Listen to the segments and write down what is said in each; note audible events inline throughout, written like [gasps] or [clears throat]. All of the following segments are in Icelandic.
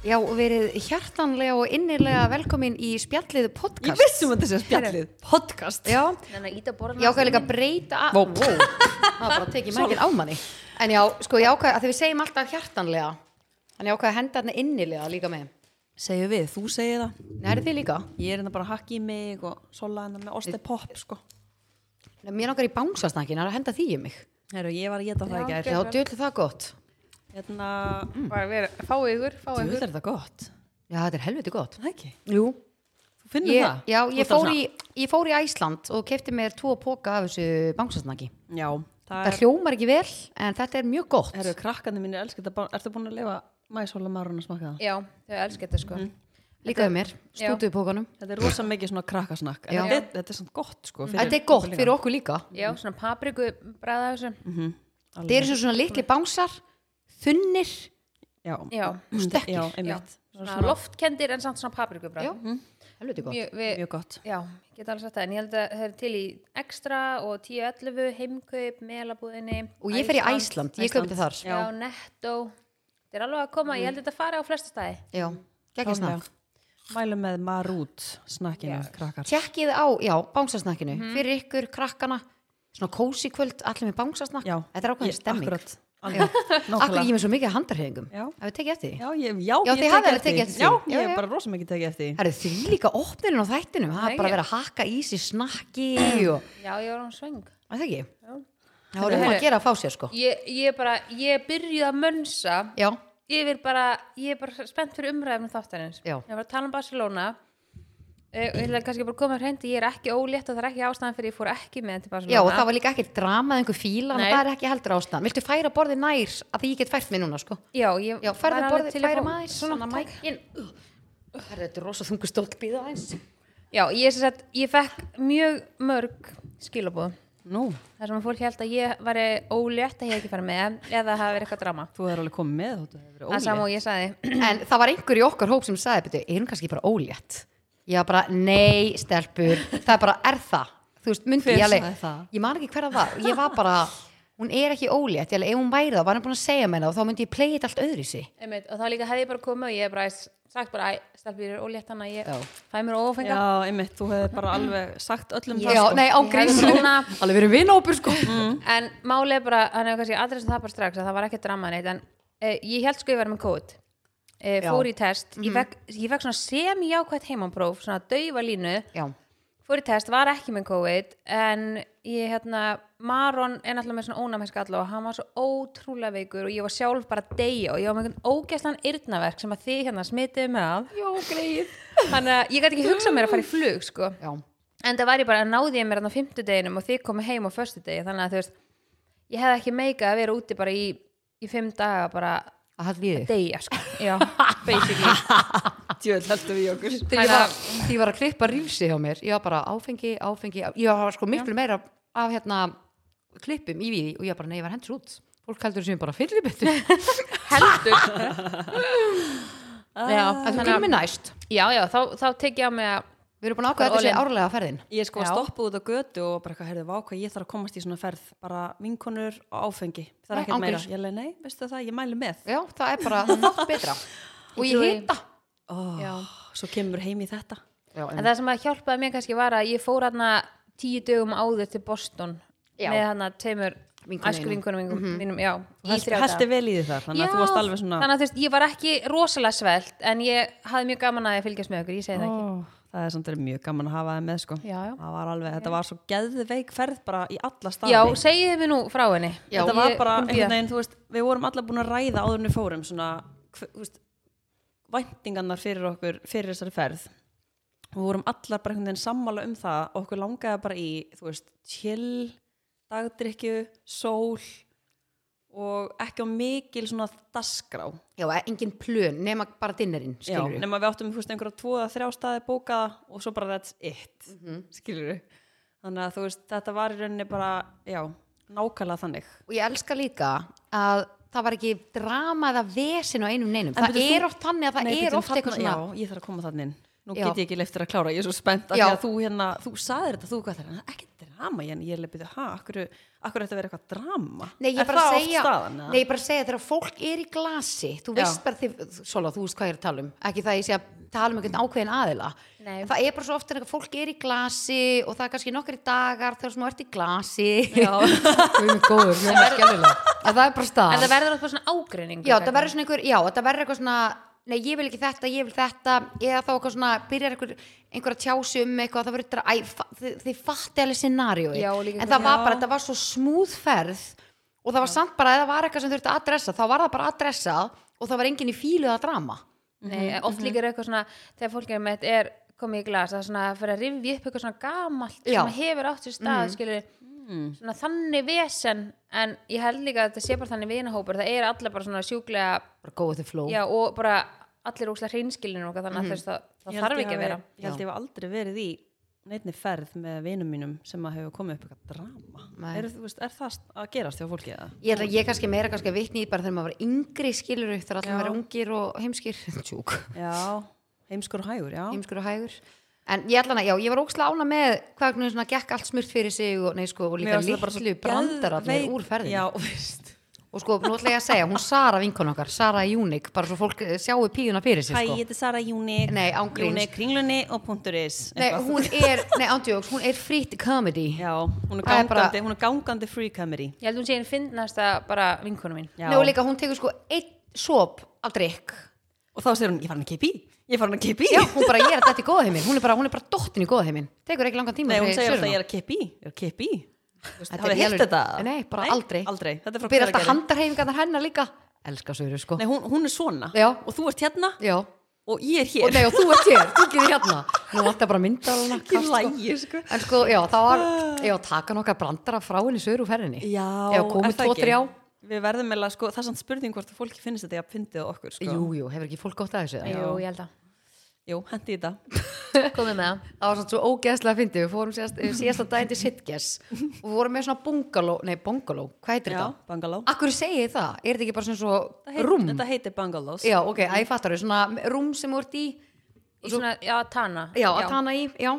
Já, og verið hjartanlega og innilega velkomin í spjallið podcast. Ég vissum að þetta sé spjallið. Podcast. Já, Þannig að íta borðan ég ákvæði líka að breyta að... Vó, vó, það var bara að tekið mækinn á manni. En já, sko, ég ákvæði að þegar við segjum alltaf hjartanlega, þannig ákvæði að henda þarna innilega líka með. Segju við, þú segir það. Nei, er þið líka? Ég er hérna bara að hakka í mig og sola hérna með ostepopp, sko. Nei, mér nokkar í bánsasnakkin, það er að henda því í mig. Herru, ég var að geta það í Já, gær. Já, djölu það gott. Hérna, Bara verið, fá ykkur, fá þú ykkur er það gott. Já, þetta er helviti gott. Það ekki? Jú. Þú finnum Ég, það? já, Þú ég ert fór, alveg í, ég fór í Æsland og kefti mér tvo póka af þessu bánsasnakki. svona- Já, það Það er... hljómar ekki vel, en þetta er mjög gott. Herru, krakkandi mínir elskar þetta. bara- Ertu búin að lifa mæsóla marun að smaka það? Já, þau elskar þetta sko Líka við mér, Já. stútuðu pókanum. Þetta er rosa mikið svona krakkasnakk. En Já. Mm. Þetta, er- þetta er svona gott, sko. fyrir Þetta er okkur gott líka. fyrir okkur líka. Já, svona papriku bræða þessu Mm. Þetta eru svona litli bánsar, þunnir, Já, Já, stökkir. já, já einmitt. Svona loftkendir en samt svona papriku Já, bræða helviti gott. Mjög, við, Mhm. Mjög gott. já, ég get alveg sagt það En ég held að það er til í ekstra og 10.11 heimkaup, melabúðinni Og ég fer í Æsland, ég Æsland. köpti þar. Já, netto Þetta er alveg að koma, ég held að þetta fari á flesta staði Já, geggja snakk. Mælum með marút snakkinu, krakkar. Tjekkið á, já, bánsasnakkinu, Mhm. fyrir ykkur, krakkana, svona kósi kvöld, allir með bánsasnakk. Já. Þetta er ákveðin Ég- stemming. Akkurat. alveg, Akkur nákvæmlega. ég er með svo mikið handarhefingum. Já. Ef við tekið eftir því. Já, ég, já, Já, ég þið tek hafið alveg tekið eftir því. Já, Já, ég já. er bara rosa mikið tekið eftir því. Það eru því líka opnirinn á þættinum. Það Nei, er bara ég- verið að hakka í sér snakki [clears throat] og... Já, ég var án svöng Er Það ekki? Það var um að Herru. gera að fá sér, sko. Ég, ég bara, ég byrjuð að mönsa Já, Ég er bara, ég er bara spennt fyrir umræðum þáttanins Já. Ég var að tala um Barcelona Eh, og ég ætla kannski bara að koma hreint ég er ekki ólétt og það er ekki ástæðan fyrir ég fór ekki með til Barcelona já, og það var líka ekkert dramað einhver fíla, en Nei. það er ekki heldur ástæðan. Viltu færa borðið nær að því ég get fært mér núna, sko? Já, ég Já, var færðu alveg borðið, til að færa fá- maður, svona Svona, takk. mækin. Herðu, þetta er rosa þungu stóll býða eins. Já, ég, sem sagt, ég fekk mjög mörg skilabóð Nú, þar sem að fólk held að ég var ólétt að ég ekki fara með eða það hafi verið eitthvað drama þú er alveg komið með þóttu. Það hefur Það verið sama ólétt. og ég sagði [clears throat] En það var einhver í okkar hóp sem sagði, betur, er hún kannski bara ólétt? Ég var bara, nei, stelpur, það er bara, er það? Þú veist, myndi Hver ég alveg, sagði það? ég man ekki hver það var, ég var bara, hún er ekki ólétt, ég alveg, ef hún væri það, var hann búin að segja mér það og þá myndi ég playa þetta allt öðru í sig. Einmitt, og þá líka hefði ég bara komið og ég hef bara sagt bara, æ, stelpur, ég er ólétt hann að ég Já. fæ mér ófengar Já, einmitt, þú hefur bara alveg sagt öllum sko. Já, nei, á Ég grís, hefði svona- Mm. alveg verið vinnópur, sko. en málið er bara, hann hefur kannski aðrið það bara strax að það var ekki drama neitt en uh, ég held sko ég var með kód uh, fór í test, Mhm. ég, fekk, ég fekk svona semi-jákvætt heimapróf, svona daufa línu Já, fór í test, var ekki með COVID en ég hérna Maron er náttúrulega með svona ónæmiska allu og hann var svo ótrúlega veikur og ég var sjálf bara að deyja og ég var með einhvern ógæslan yrnaverk sem að þið hérna smitiði með að já, greið. þannig að ég gæti ekki hugsað mér að fara í flug sko. Já, en það var ég bara að náði ég mér þarna á fimmtudeginum og þið komu heim á föstudegi þannig að þú veist, ég hefði ekki meikað að vera úti bara í, í fimm daga bara að hald við þig. deyja sko. já, basically Djöðl heldur við í okkur. Þegar ég var, þegar ég var að klippa rífsi hjá mér, ég var bara áfengi, áfengi, ég var sko miklu meira af hérna klippum í við og ég var bara, nei, ég var hendur út. Fólk heldur sem ég bara fyrir [laughs] heldur já, En þú kemur mér næst. já, já, þá, þá tek ég á mig að Við erum búin að ákveða að þetta sé All in. árlega ferðin. Ég sko Já. stoppuð út á götu og bara eitthvað, heyrðu, vá, hvað ég þarf að komast í svona ferð, bara vinkonur og áfengi, það er Nei, ekkert meira. ángríns. Ég leiði, nei, veistu það, ég mæli með. Já, það er [laughs] bara þátt betra. Og ég Enjoy. hita. Oh, Já. svo kemur heim í þetta. Já, en það sem að hjálpaði mér kannski var að ég fór hérna tíu dögum áður til Boston Já. með hérna tveimur Vinkonum æskuvingunum mínum, mínum, já, í Þú þrjá daga. hætti vel í þið þar, þannig að þú Já, varst alveg svona, þannig að þú veist, ég var ekki rosalega svelt en ég hafði mjög gaman að ég fylgjast með okkur, ég segi það Ó, ekki það er samt verið mjög gaman að hafa það með sko. Já, já. Það var alveg, þetta var svo geðveik ferð bara í alla staði. Já, segiðu mér nú frá henni Já, þetta var ég- bara hún bíða. einhvern veginn, þú veist, við vorum alla búin að ræða áður en við fórum svona, hv- þú veist, væntingarnar fyrir okkur, fyrir þessari ferð. Við vorum allar bara einhvern veginn sammála um það og okkur langaði bara í, þú veist, chill, dagdrykju, sól og ekki á mikil svona dasgrá. Já, engin plön, nema bara dinnerinn, Já, skilur við. nema við áttum þú veist, einhverja tvo eða þrjá staði bókaða og svo bara that's it, mm skilur við. Þannig að þú veist, þetta var í rauninni bara, já, nákvæmlega þannig. Og ég elska líka að það var ekki drama eða vesin á einum neinum. Það byrju, þú- er oft þannig að það Nei, er bíddu, oft þarna- eitthvað svona... Já, ég þarf að koma þannig inn. Nú Já. get ég ekki leiftir að klára, ég er svo spennt af Já. því að þú hérna, þú saðir þetta, þú hvað þeirra, ekki drama. drama en ég leipið, ha, akkur, akkur þetta verið eitthvað drama Nei, ég er bara það að oft segja, staðan? eða? nei, ég bara að segja þegar fólk er í glasi, þú Já. veist bara þið, Sola, þú veist hvað ég er að tala um, ekki það ég sé að tala um einhvern ákveðin aðila. Nei. En Það er bara svo ofta að fólk er í glasi og það er kannski nokkri dagar þegar svona ert í glasi. [laughs] Já. Þú erum góður, mér er skjálfilega. En það er bara [laughs] En staðan. það verður alltaf bara svona ágreining Já, það verður svona einhver, já, það verður eitthvað svona nei, ég vil ekki þetta, ég vil þetta eða þá eitthvað svona, byrjar einhver einhver að tjási um eitthvað, það verður þetta æ, fa- þið, þið fatti alveg scenariói Já, og en líka það einhver- var já. bara, þetta var svo smooth ferð og það var samt bara, ef það var eitthvað sem þurfti að adressa þá var það bara adressað og það var enginn í fílu að drama Nei, en Mhm. oft líka er eitthvað svona þegar fólk er með þetta er komið í glas það er svona að fyrir að rifja upp eitthvað svona gamalt Já. sem hefur átt sér stað Mhm. mm. svona þannig vesen en ég held líka að þetta sé bara þannig vinahópur það er allir bara svona sjúklega bara go with the flow já, og bara allir úslega hreinskilinu og eitthvað, þannig að þess að það Mhm. Ég held þarf ég ekki að hafi- vera Ég held ég hef aldrei verið í neittni ferð með vinum mínum sem að hefur komið upp eitthvað drama Nei. er, þú veist, er það st- að gerast hjá fólki eða? Ég, held að ég kannski meira kannski að vitni í bara þegar maður var yngri skilur upp þegar allir verið ungir og heimskir [laughs] tjúk, Já, heimskur og hægur, já heimskur og hægur en ég ætla hana, já, ég var ókslega ána með hvað hvernig svona gekk allt smurt fyrir sig og, nei, sko, og Mér líka fannst það bara svo litlu brandararnir geðveik- úr ferðin Já, [laughs] veist og sko, nú ætla ég að segja, hún Sara vinkon okkar Sara Júnik, bara svo fólk eh, sjáu píuna fyrir sig Hæ, sko. ég heiti Sara Júnik Nei, án gríns. Júnik, kringlunni og punktur is nei, eitthvað. hún er, nei, ándjóks, hún er frýtt comedy Já, hún er Það er gangandi, bara- hún er gangandi free comedy ég held hún sé einn finnast að bara vinkonu mín Já. nei, og líka, hún tekur sko einn sop af drikk Og þá segir hún, ég fara hann að kipi Ég fara hann að kipi já, hún bara, ég er þetta í góða heimin hún er bara, hún er bara dottin í góða heimin tekur ekki langan tíma Nei, fyrir hún segir alltaf, söluna. ég er að kipi Ég er að kipi Þetta Hafið er heilt alveg- þetta? Nei, bara aldrei. Aldrei, þetta er frá byrja alltaf Hveragerði. handarhefingarnar hennar líka elska sögur, sko Nei, hún, hún er svona Já. Og þú ert hérna já, og og ég er hér nei, og þú ert hér, þú getur hérna nú vantar bara mynda Ég lægi, sko. En sko, já, það var, Ah. já, taka nokkar brandara frá henni sögur úr ferðinni. Já, er komið það tvo, ekki? þrjá. Við verðum meðla, sko, það er samt spurning hvort að fólki finnst þetta jafn fyndið og okkur, sko. Jú, jú, hefur ekki fólk gott að þessu? eða? jú, ég held að Jú, hendi í það. komið með það Það var svona svo ógeðslega fyndið, við fórum síðast, eh, síðasta daginn til Sitges [laughs] og við vorum með svona bungaló, nei, bungaló, hvað heitir Já, þetta? bangaló. Akkur segi ég það? Er þetta ekki bara svona Það svo heitir- rúm? Þetta heitir bangalós. Já, ok, að ég fattar þau, svona rúm sem þú ert í, í svona, já, tana já, að tana í, já.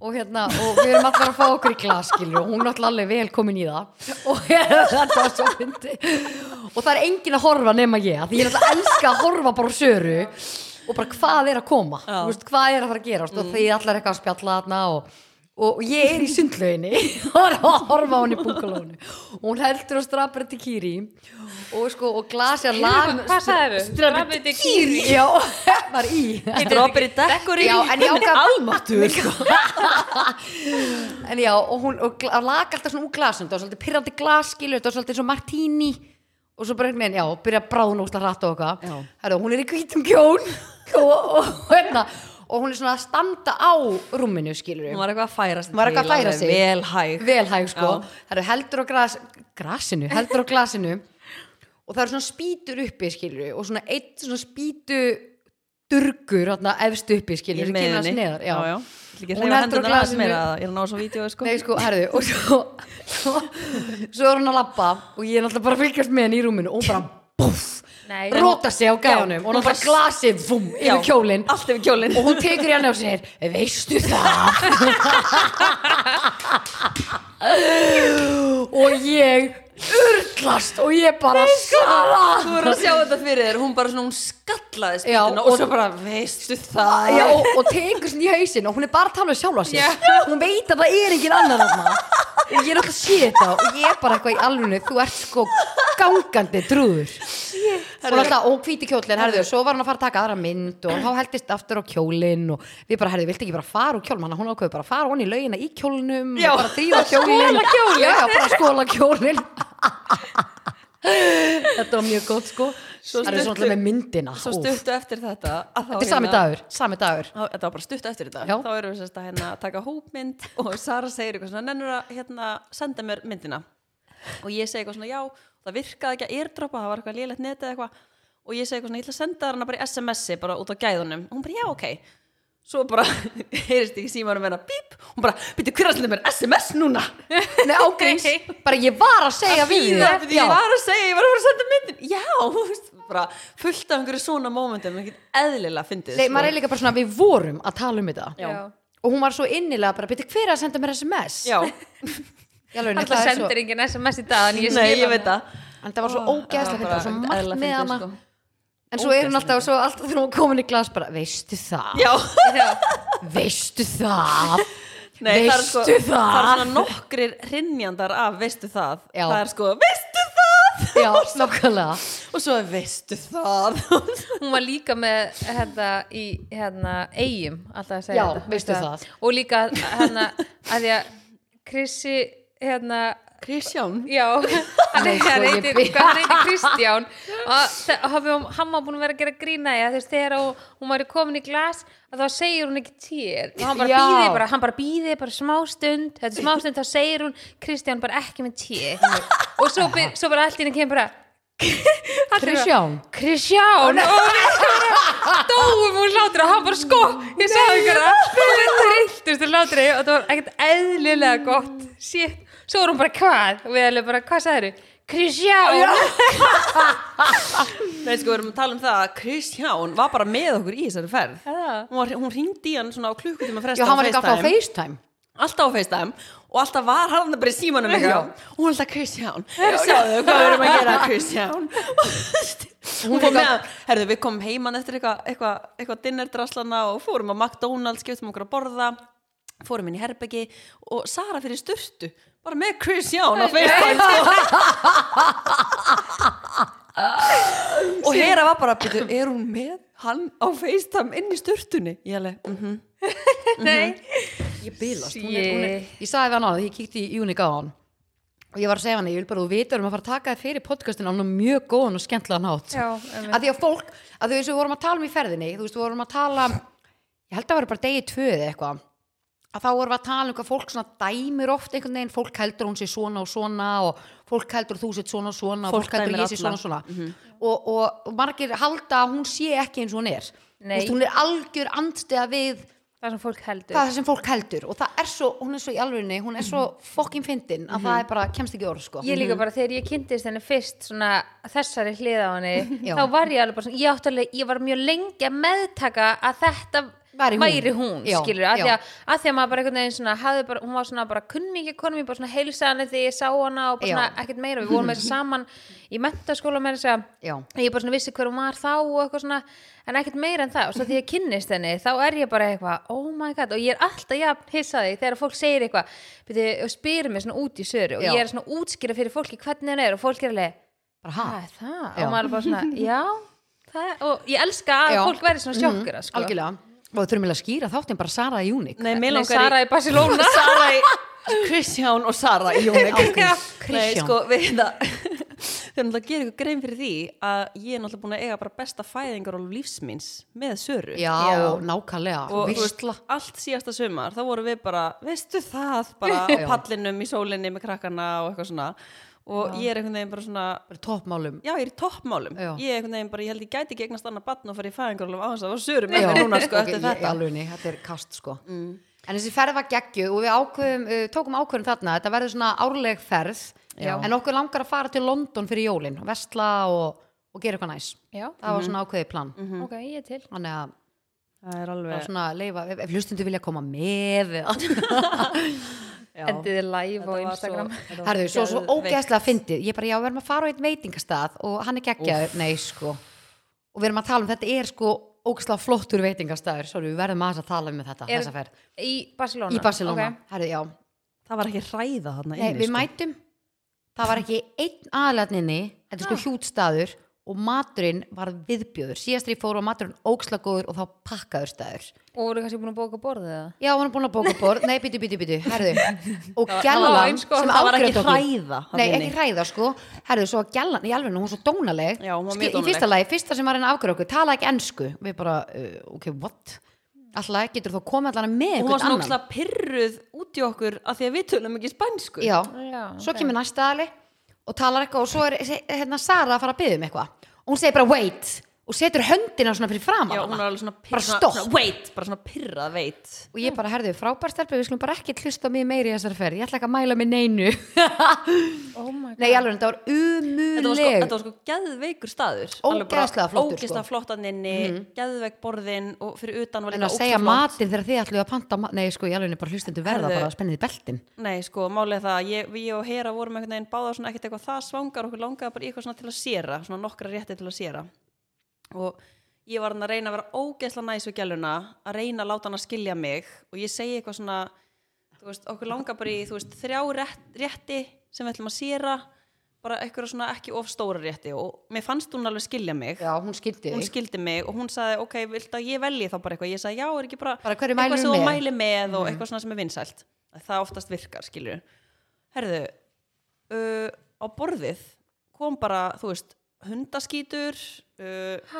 Og hérna, og við erum allar að fá okkur í glaskilju og hún er allar alveg velkomin í það og [laughs] þetta var svo fyndi og það er engin að horfa nema ég af því ég er alltaf elska að horfa bara á söru og bara hvað er að koma Þú Já. veist, hvað er að fara að gera mm. og því allar eitthvað að spjalla þarna og, og ég er í sundlauginni [laughs] og er að horfa á henni í bungalónu og hún heldur á strapari til kýri og sko, og glasja lag hvað sagðirðu? Strawberry kýri já, [laughs] var í Strawberry decorate. Já, [laughs] en ég ákvað- Almáttur, sko. En já, og hún og gla- laga alltaf svona úr glasum, það var svolítið pirrandi glaskilu, það var svolítið svo martíni og svo bara einhvern veginn, já, byrja að bráðun ósla hratt og Já. eitthvað. Herru, hún er í hvítum kjón [laughs] og, og, hérna, og hún er svona að standa á rúminu, skilur Hún var eitthvað að færa sig Hún var eitthvað að til, færa alveg sig. Vel hæg. Velhæg, sko. Það eru heldur á gras, grasinu, heldur á glasinu og það eru svona spýtur uppi, skilur og svona eitt svona spýtu durgur, þarna, efst uppi, skilur Í meðinni. Neðar, já. já. Ég vil ekki Hún heldur hreyfa á hendurnar aðeins glasinu. meira, Ég er að ná svo vídeo, sko. Nei, sko, herðu, og svo, svo, svo er hún að labba og ég er náttúrulega bara að fylgjast með henni í rúminu og hún bara, búff, Nei, róta sig á gæðanum og hún bara glasið, fum, Já, yfir kjólinn Allt yfir kjólinn. og hún tekur í hann og segir, veistu [laughs] það? og ég urtlast og ég bara, sko. Sara! Þú verður að sjá þetta fyrir þér, hún bara svona, hún Já, skallaði spýtuna og og- svo bara, veistu það? Já, og, og tekur svona í hausin og hún er bara að tala um sjálfa sig hún veit að það er engin annar þarna og ég er alltaf að sé þetta og ég er bara eitthvað í alvunni, þú ert sko gangandi drúður og alltaf ókvíti kjólinn, herðu, svo var hún að fara að taka aðra mynd og þá heldist aftur á kjólinn og við bara, herðu, viltu ekki bara fara úr kjólum hann hún ákveður bara að fara honni í laugina í kjólnum Já. og bara drífa kjólinn já, já, bara skóla kjólinn þetta var mjög gott sko Svo það er stuttu- svona alltaf með myndina Svo úff. stuttu eftir þetta að þá þetta er sami hérna- dagur, sami dagur Þá- Þetta var bara stutt eftir þetta Já. Þá erum við sérst að hérna, taka hópmynd og Sara segir eitthvað svona Nennur að hérna, senda mér myndina Og ég segi eitthvað svona já Það virkaði ekki að airdropa, það var eitthvað lélegt netið eitthvað Og ég segi eitthvað svona, ég ætla að senda þér hana bara í SMS-i bara út á gæðunum Og hún bara já ok Svo bara [laughs] heyrist ekki símanum hennar bíp Hún bara, byrju hver er að senda mér SMS núna? Nei, [laughs] ágríns, bara ég var að segja við Bíða, þig. bíddu, Já. Ég var að segja, ég var að fara að senda myndin Já, [laughs] þú veist, bara fullt af einhverju svona momentum, ekki eðlilega fyndið Nei, sko. maður er líka bara svona, við vorum að tala um þetta Já. og og hún var svo innilega bara, beti hver er að senda mér sms Já, Í alvörunni, Alltaf það er svo, sendir engin SMS í dag en ég nei, skil ég hann. veit það en það var svo ógeðslega þetta var svo margt eðla með fyndið, hana sko. en svo er hún alltaf, svo alltaf þegar hún er komin í glas bara, veistu það, Já, veistu það nei, það er Veistu sko það? Það er svona nokkrir hrinnjandar af veistu það Já. Það er sko, veistu [laughs] það já, nákvæmlega Og svo er veistu það [laughs] hún var líka með hérna í hérna eigum alltaf að segja Já, þetta, veistu veistu það. og líka hérna að því að Krissi hérna Kristján já, hann Nei, er hann sko, ég heitir bý- hvað hann heitir Kristján og þe- hafi hún- hann var búin að vera að gera grína því að þú veist þegar hún, hún var komin í glas að þá segir hún ekki tíð og hann bara Já. býði bara, hann bara býði bara smástund þetta er smástund þá segir hún Kristján bara ekki með tíð og svo, byr, svo bara allt í henni kemur bara allir bara, Kristján Kristján og við bara dóum úr hlátur og hann bara sko ég sagði ykkur það og við trilltust úr hlátur og það var ekkert eðlilega gott shit, svo var hún bara hvað og við erum bara hvað sagðið Kristján Nei, sko, við erum að tala um það að Kristján var bara með okkur í þessari ferð Er það? Hún, var, hún ringdi í hann svona á klukkutíma já, fresta hann var líka alltaf á FaceTime. FaceTime Alltaf á FaceTime Og alltaf var hann bara í símanum Já. eitthvað Og hún alltaf Kristján Sjáðu hvað við erum að gera Kristján Hún fór líka- með hann Herðu, við komum heiman eftir eitthvað eitthva, eitthva dinnerdraslana Og fórum á McDonalds, skiptum okkur að borða Fórum inn í herbeki Og Sara fyrir sturtu Bara með Kristján á FaceTime sko. og Hera var bara býtu, er hún með hann á FaceTime inn í sturtunni ég alveg, mhm, Nei ég bílast hún er, hún er, ég sagði við hann á það, ég kíkti í Unique á hann og ég var að segja hann, ég vil bara að þú vitur um að fara að taka þið fyrir podcastin á hann mjög góðan og skemmtlaðan hátt Já, einmitt. að því að fólk, að því að við vorum að tala um í ferðinni þú veist, við vorum að tala um- ég held að það var bara degi tvö eða eitthvað að þá vorum við að tala um hvað fólk svona dæmir oft einhvern veginn, fólk heldur hún sér svona og svona og fólk heldur þú sér svona og svona og Fólk fólk heldur dæmir ég sér svona alla. og svona og, og, og margir halda að hún sé ekki eins og hún er Þú Nei. veist, hún er algjör andstega við það sem fólk heldur það er sem fólk heldur og það er svo, hún er svo í alvörinni hún er svo fokkin fyndin að það er bara, kemst ekki í orð sko Ég líka bara þegar ég kynntist henni fyrst svona þessari hlið á henni [laughs] Já. þá var ég alveg bara svona, ég átti alveg ég var mjög lengi að meðtaka að þetta Væri hún. væri hún, Já, skilur að því já. að, að því að maður bara einhvern veginn svona, hafði bara, hún var svona bara kunni ekki konum, ég bara svona heilsa henni þegar ég sá hana og bara Já. svona ekkert meira, við vorum með þess saman í mentaskóla með þess að Já. ég bara svona vissi hver hún var þá og eitthvað svona en ekkert meira en það og svo því ég kynnist henni þá er ég bara eitthvað, oh my god og ég er alltaf jafn hissaði þegar fólk segir eitthvað byrju, og spyrir mig svona út í söru og Já. ég er svona að útskýra fyrir fólki hvernig henni er og fólk er alveg, bara, það ha, er það Já. og maður er bara svona, já það er, og ég elska að Já. Mhm. fólk verði svona sjokkura sko. algjörlega og við þurfum eiginlega að skýra þáttinn bara Sara í Unique nei, mig Nei, langar Sara í [laughs] Barcelona Sara í Kristján og Sara í [laughs] Jónik Já, Nei, Kristján. sko, við það [laughs] Þau erum alltaf að gera ykkur grein fyrir því að ég er náttúrulega búin að eiga bara besta fæðingar og lífsmins með Söru já, Já. nákvæmlega, og þú veist, vissla allt síðasta sumar þá vorum við bara, veistu það bara á [laughs] Já. pallinum í sólinni með krakkana og eitthvað svona og ég er einhvern veginn bara svona bara toppmálum já, ég er í toppmálum Já. ég er einhvern veginn bara, ég held ég gæti ekki eignast annað batn og farið í fæðingarólum á þess að það var sörum Já, með mér núna sko [laughs] ok, eftir ég- í þetta alvörunni, þetta er kast sko en þessi ferð var geggju og við ákveðum, uh, tókum ákveðum þarna þetta verður svona árleg ferð Já. en okkur langar að fara til London fyrir jólin vestla og, og gera eitthvað næs já, það var svona ákveðið plan ok, ég er til þannig að það er bara alveg, svona leifa, ef, ef hlustundu vilja koma með eða- já, endiði live og var Instagram svo- þetta var Herðu, svo, svo geðveikt. ógeðslega fyndið Ég bara, já, við erum að fara á einn veitingastað og hann er geggjaður, nei, sko og við erum að tala um, þetta er sko ógeðslega flottur veitingastaður, sorry, við verðum aðeins að tala um þetta, Er- þessa ferð, í Barcelona, í Barcelona Ok. Herðu, já, það var ekki ræða þarna sko. nei, við mætum það var ekki einn aðlætninni þetta er sko hjútstaður og maturinn var viðbjöður, síðast þegar ég fór og maturinn ógeðslega góður og þá pakkaður staður og voru kannski búin að bóka borðið eða? Já, hann er búin að bóka borð, nei, bíti, bíti, bíti, herðu og það var gælan eins sko, sem það var ágreitt ekki okkur hræða þarna Nei, inni. ekki hræða sko Herðu, svo að gælan, í alveg, hún var svo dónaleg Já, hún var Ski- mjög Í fyrsta lagi, fyrsta sem var henni afgjör okkur, tala ekki ensku Við bara, uh, ok, what? Alltaf getur þú komið allan með hún var einhvern svona annan ógeðslega pirruð út í okkur af því að við tölum ekki spænsku Já, Já, svo ok. kemur næsta aðli og talar eitthvað og svo er se- hérna Sara að fara að byggja um eitthvað og hún segir bara, wait og setur höndina svona fyrir fram Já, hún er alveg svona Bara svona- stolt. svona Wait, bara svona pyrrað veit og ég bara herðu frábær stelpur, við skulum bara ekki hlusta á mig meiri í þessari ferð, ég ætla ekki að mæla mig neinu oh my god nei, alveg, þetta var Þetta var sko, umuleg þetta var sko geðveikur staður Ógeðslega flottur, Ógæslega sko. flottanninni, mm. geðveik borðin og fyrir utan var en líka að segja ógeðslega flott. matinn þegar þið ætlu að panta ma- nei, sko, ég alveg bara hlustendur verða Herðu. bara að spennið í beltin Nei, sko, málið er það að ég, ég og Hera vorum einhvern veginn báða svona ekkert eitthvað það svangar okkur langaði bara í eitthvað svona til að séra svona nokkra rétti til að séra og ég var hann að reyna að vera ógeðslega næs við gæluna að reyna að láta hann að skilja mig og ég segi eitthvað svona þú veist, okkur langar bara í þú veist, þrjá rétt, rétti sem við ætlum að séra bara eitthvað svona ekki of stóra rétti og mér fannst hún alveg skilja mig já, hún skildi hún þig skildi mig og hún sagði ok, viltu að ég velji þá bara eitthvað ég sagði já, er ekki bara, Bara hverju eitthvað mælirðu sem þú með? Mhm. mæli með og eitthvað svona sem er vinsælt það oftast virkar, skilur herðu uh, á borðið kom bara, þú veist hundaskítur uh,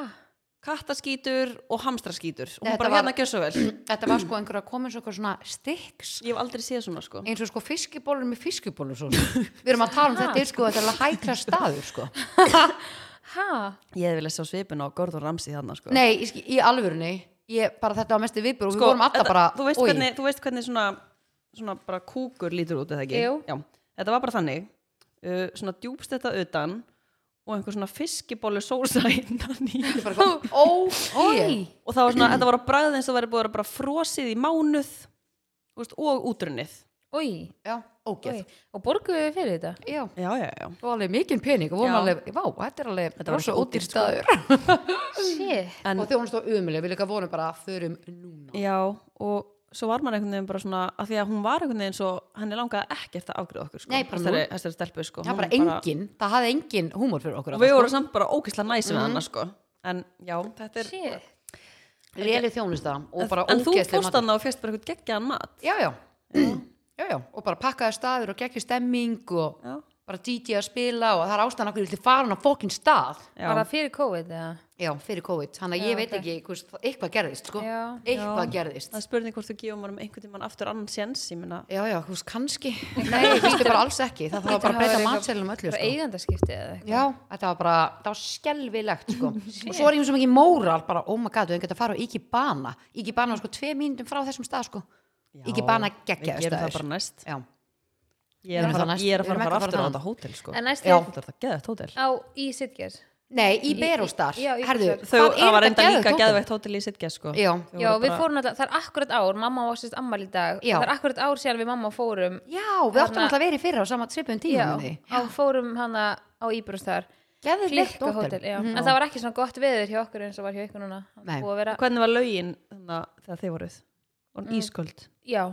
kattaskítur og hamstraskítur og Þetta hún bara var- hérna gjör svo vel þetta var sko einhverja komin svo eitthvað svona sticks ég hef aldrei séð svona sko eins og sko fiskibólur með fiskibólur svo. við erum að tala um þetta er sko, þetta er alveg hækla staður sko. [laughs] ha? ég hef viljað sjá svipin á Gordon Ramsay þarna sko nei, í, í alvörunni ég, bara þetta var mest í viðbjör og við Sko, vorum alltaf þetta- bara þú veist, oj. hvernig, þú veist hvernig svona, svona bara kúkur lítur út eða ekki Jú. Já, þetta var bara þannig uh, svona djúbst þetta utan og einhver svona fiskibólu sósa innan í Bara [laughs] eitthvað, ó, oi ég. og það var svona, þetta var að bræða eins og verið búið að vera bara frosið í mánuð þú veist, og útrunnið oi já, ógeð oi. og borguðu þið fyrir þetta já, já, já, já það var alveg mikinn pening og vorum Já. alveg, vá, þetta er alveg Þetta var rosa svo ódýr ódýrt, sko. staður shit En- og þjónust á umuleg, við líka vorum bara förum núna Já, og svo var maður einhvern veginn bara svona að því að hún var einhvern veginn svo henni langaði ekkert að afgriða okkur sko, Nei, bara þessari, þessari stelpu sko það var Hún bara engin, það hafði engin húmor fyrir okkur og við vorum samt bara ógeðslega næs við Mhm. hana sko en já, þetta er shit léli þjónusta og bara en þú ógeðsleg fórst hann og fyrst bara eitthvað geggjaðan mat já, já, já, já, og bara pakkaði staður og gekkju stemming og já, bara DJ að spila og það er ástæðan okkur til farin á fokkin stað já. var það fyrir COVID eða? já, fyrir COVID, þannig að Já, ég veit ok. ekki hvers, eitthvað gerðist, sko Já. eitthvað Já. gerðist, það er spurning hvort þú gefur maður um einhvern tímann aftur annan séns ég meina, já, já, hvers, kannski nei, ég finnst bara alls ekki, það þarf bara að breyta matselum öllu, bara sko eigandaskipti eða eitthvað já, þetta var bara, það var skelvilegt, sko og svo er ég svo mikið móral, bara, oh my god, við hefum gett að fara á Ikebana Ikebana var sko tvei mínútum frá þessum stað, sko Ikebana ég geggjaður gerum það staður bara næst já, ég Gerum er að það fara, næst. ég er Við erum að ekki fara, að fara fara aftur á þarna. þetta hótel sko. en næst Já. er þetta er það geðvægt hótel á í Sitges nei, í Berostar já, í- herðu, Þau- þau, það var enda líka geðveikt geðvægt hótel í Sitges sko. hótel? já, Þau Já, voru við bara- fórum alltaf, það er akkurat ár, mamma var sérst ammal í dag, Já. það er akkurat ár síðan við mamma fórum, já, við áttum Þarna- alltaf að vera í fyrra á sama svipum já, tíma á fórum hana á Íbrústar, geðveikt klikku hótel, hótel Mhm. já, en það var ekki svona gott veður hjá okkur eins og var hjá ykkur núna, Það Nei. búið að vera, hvernig var laugin þannig, þegar þið voruð og mm. ísköld já,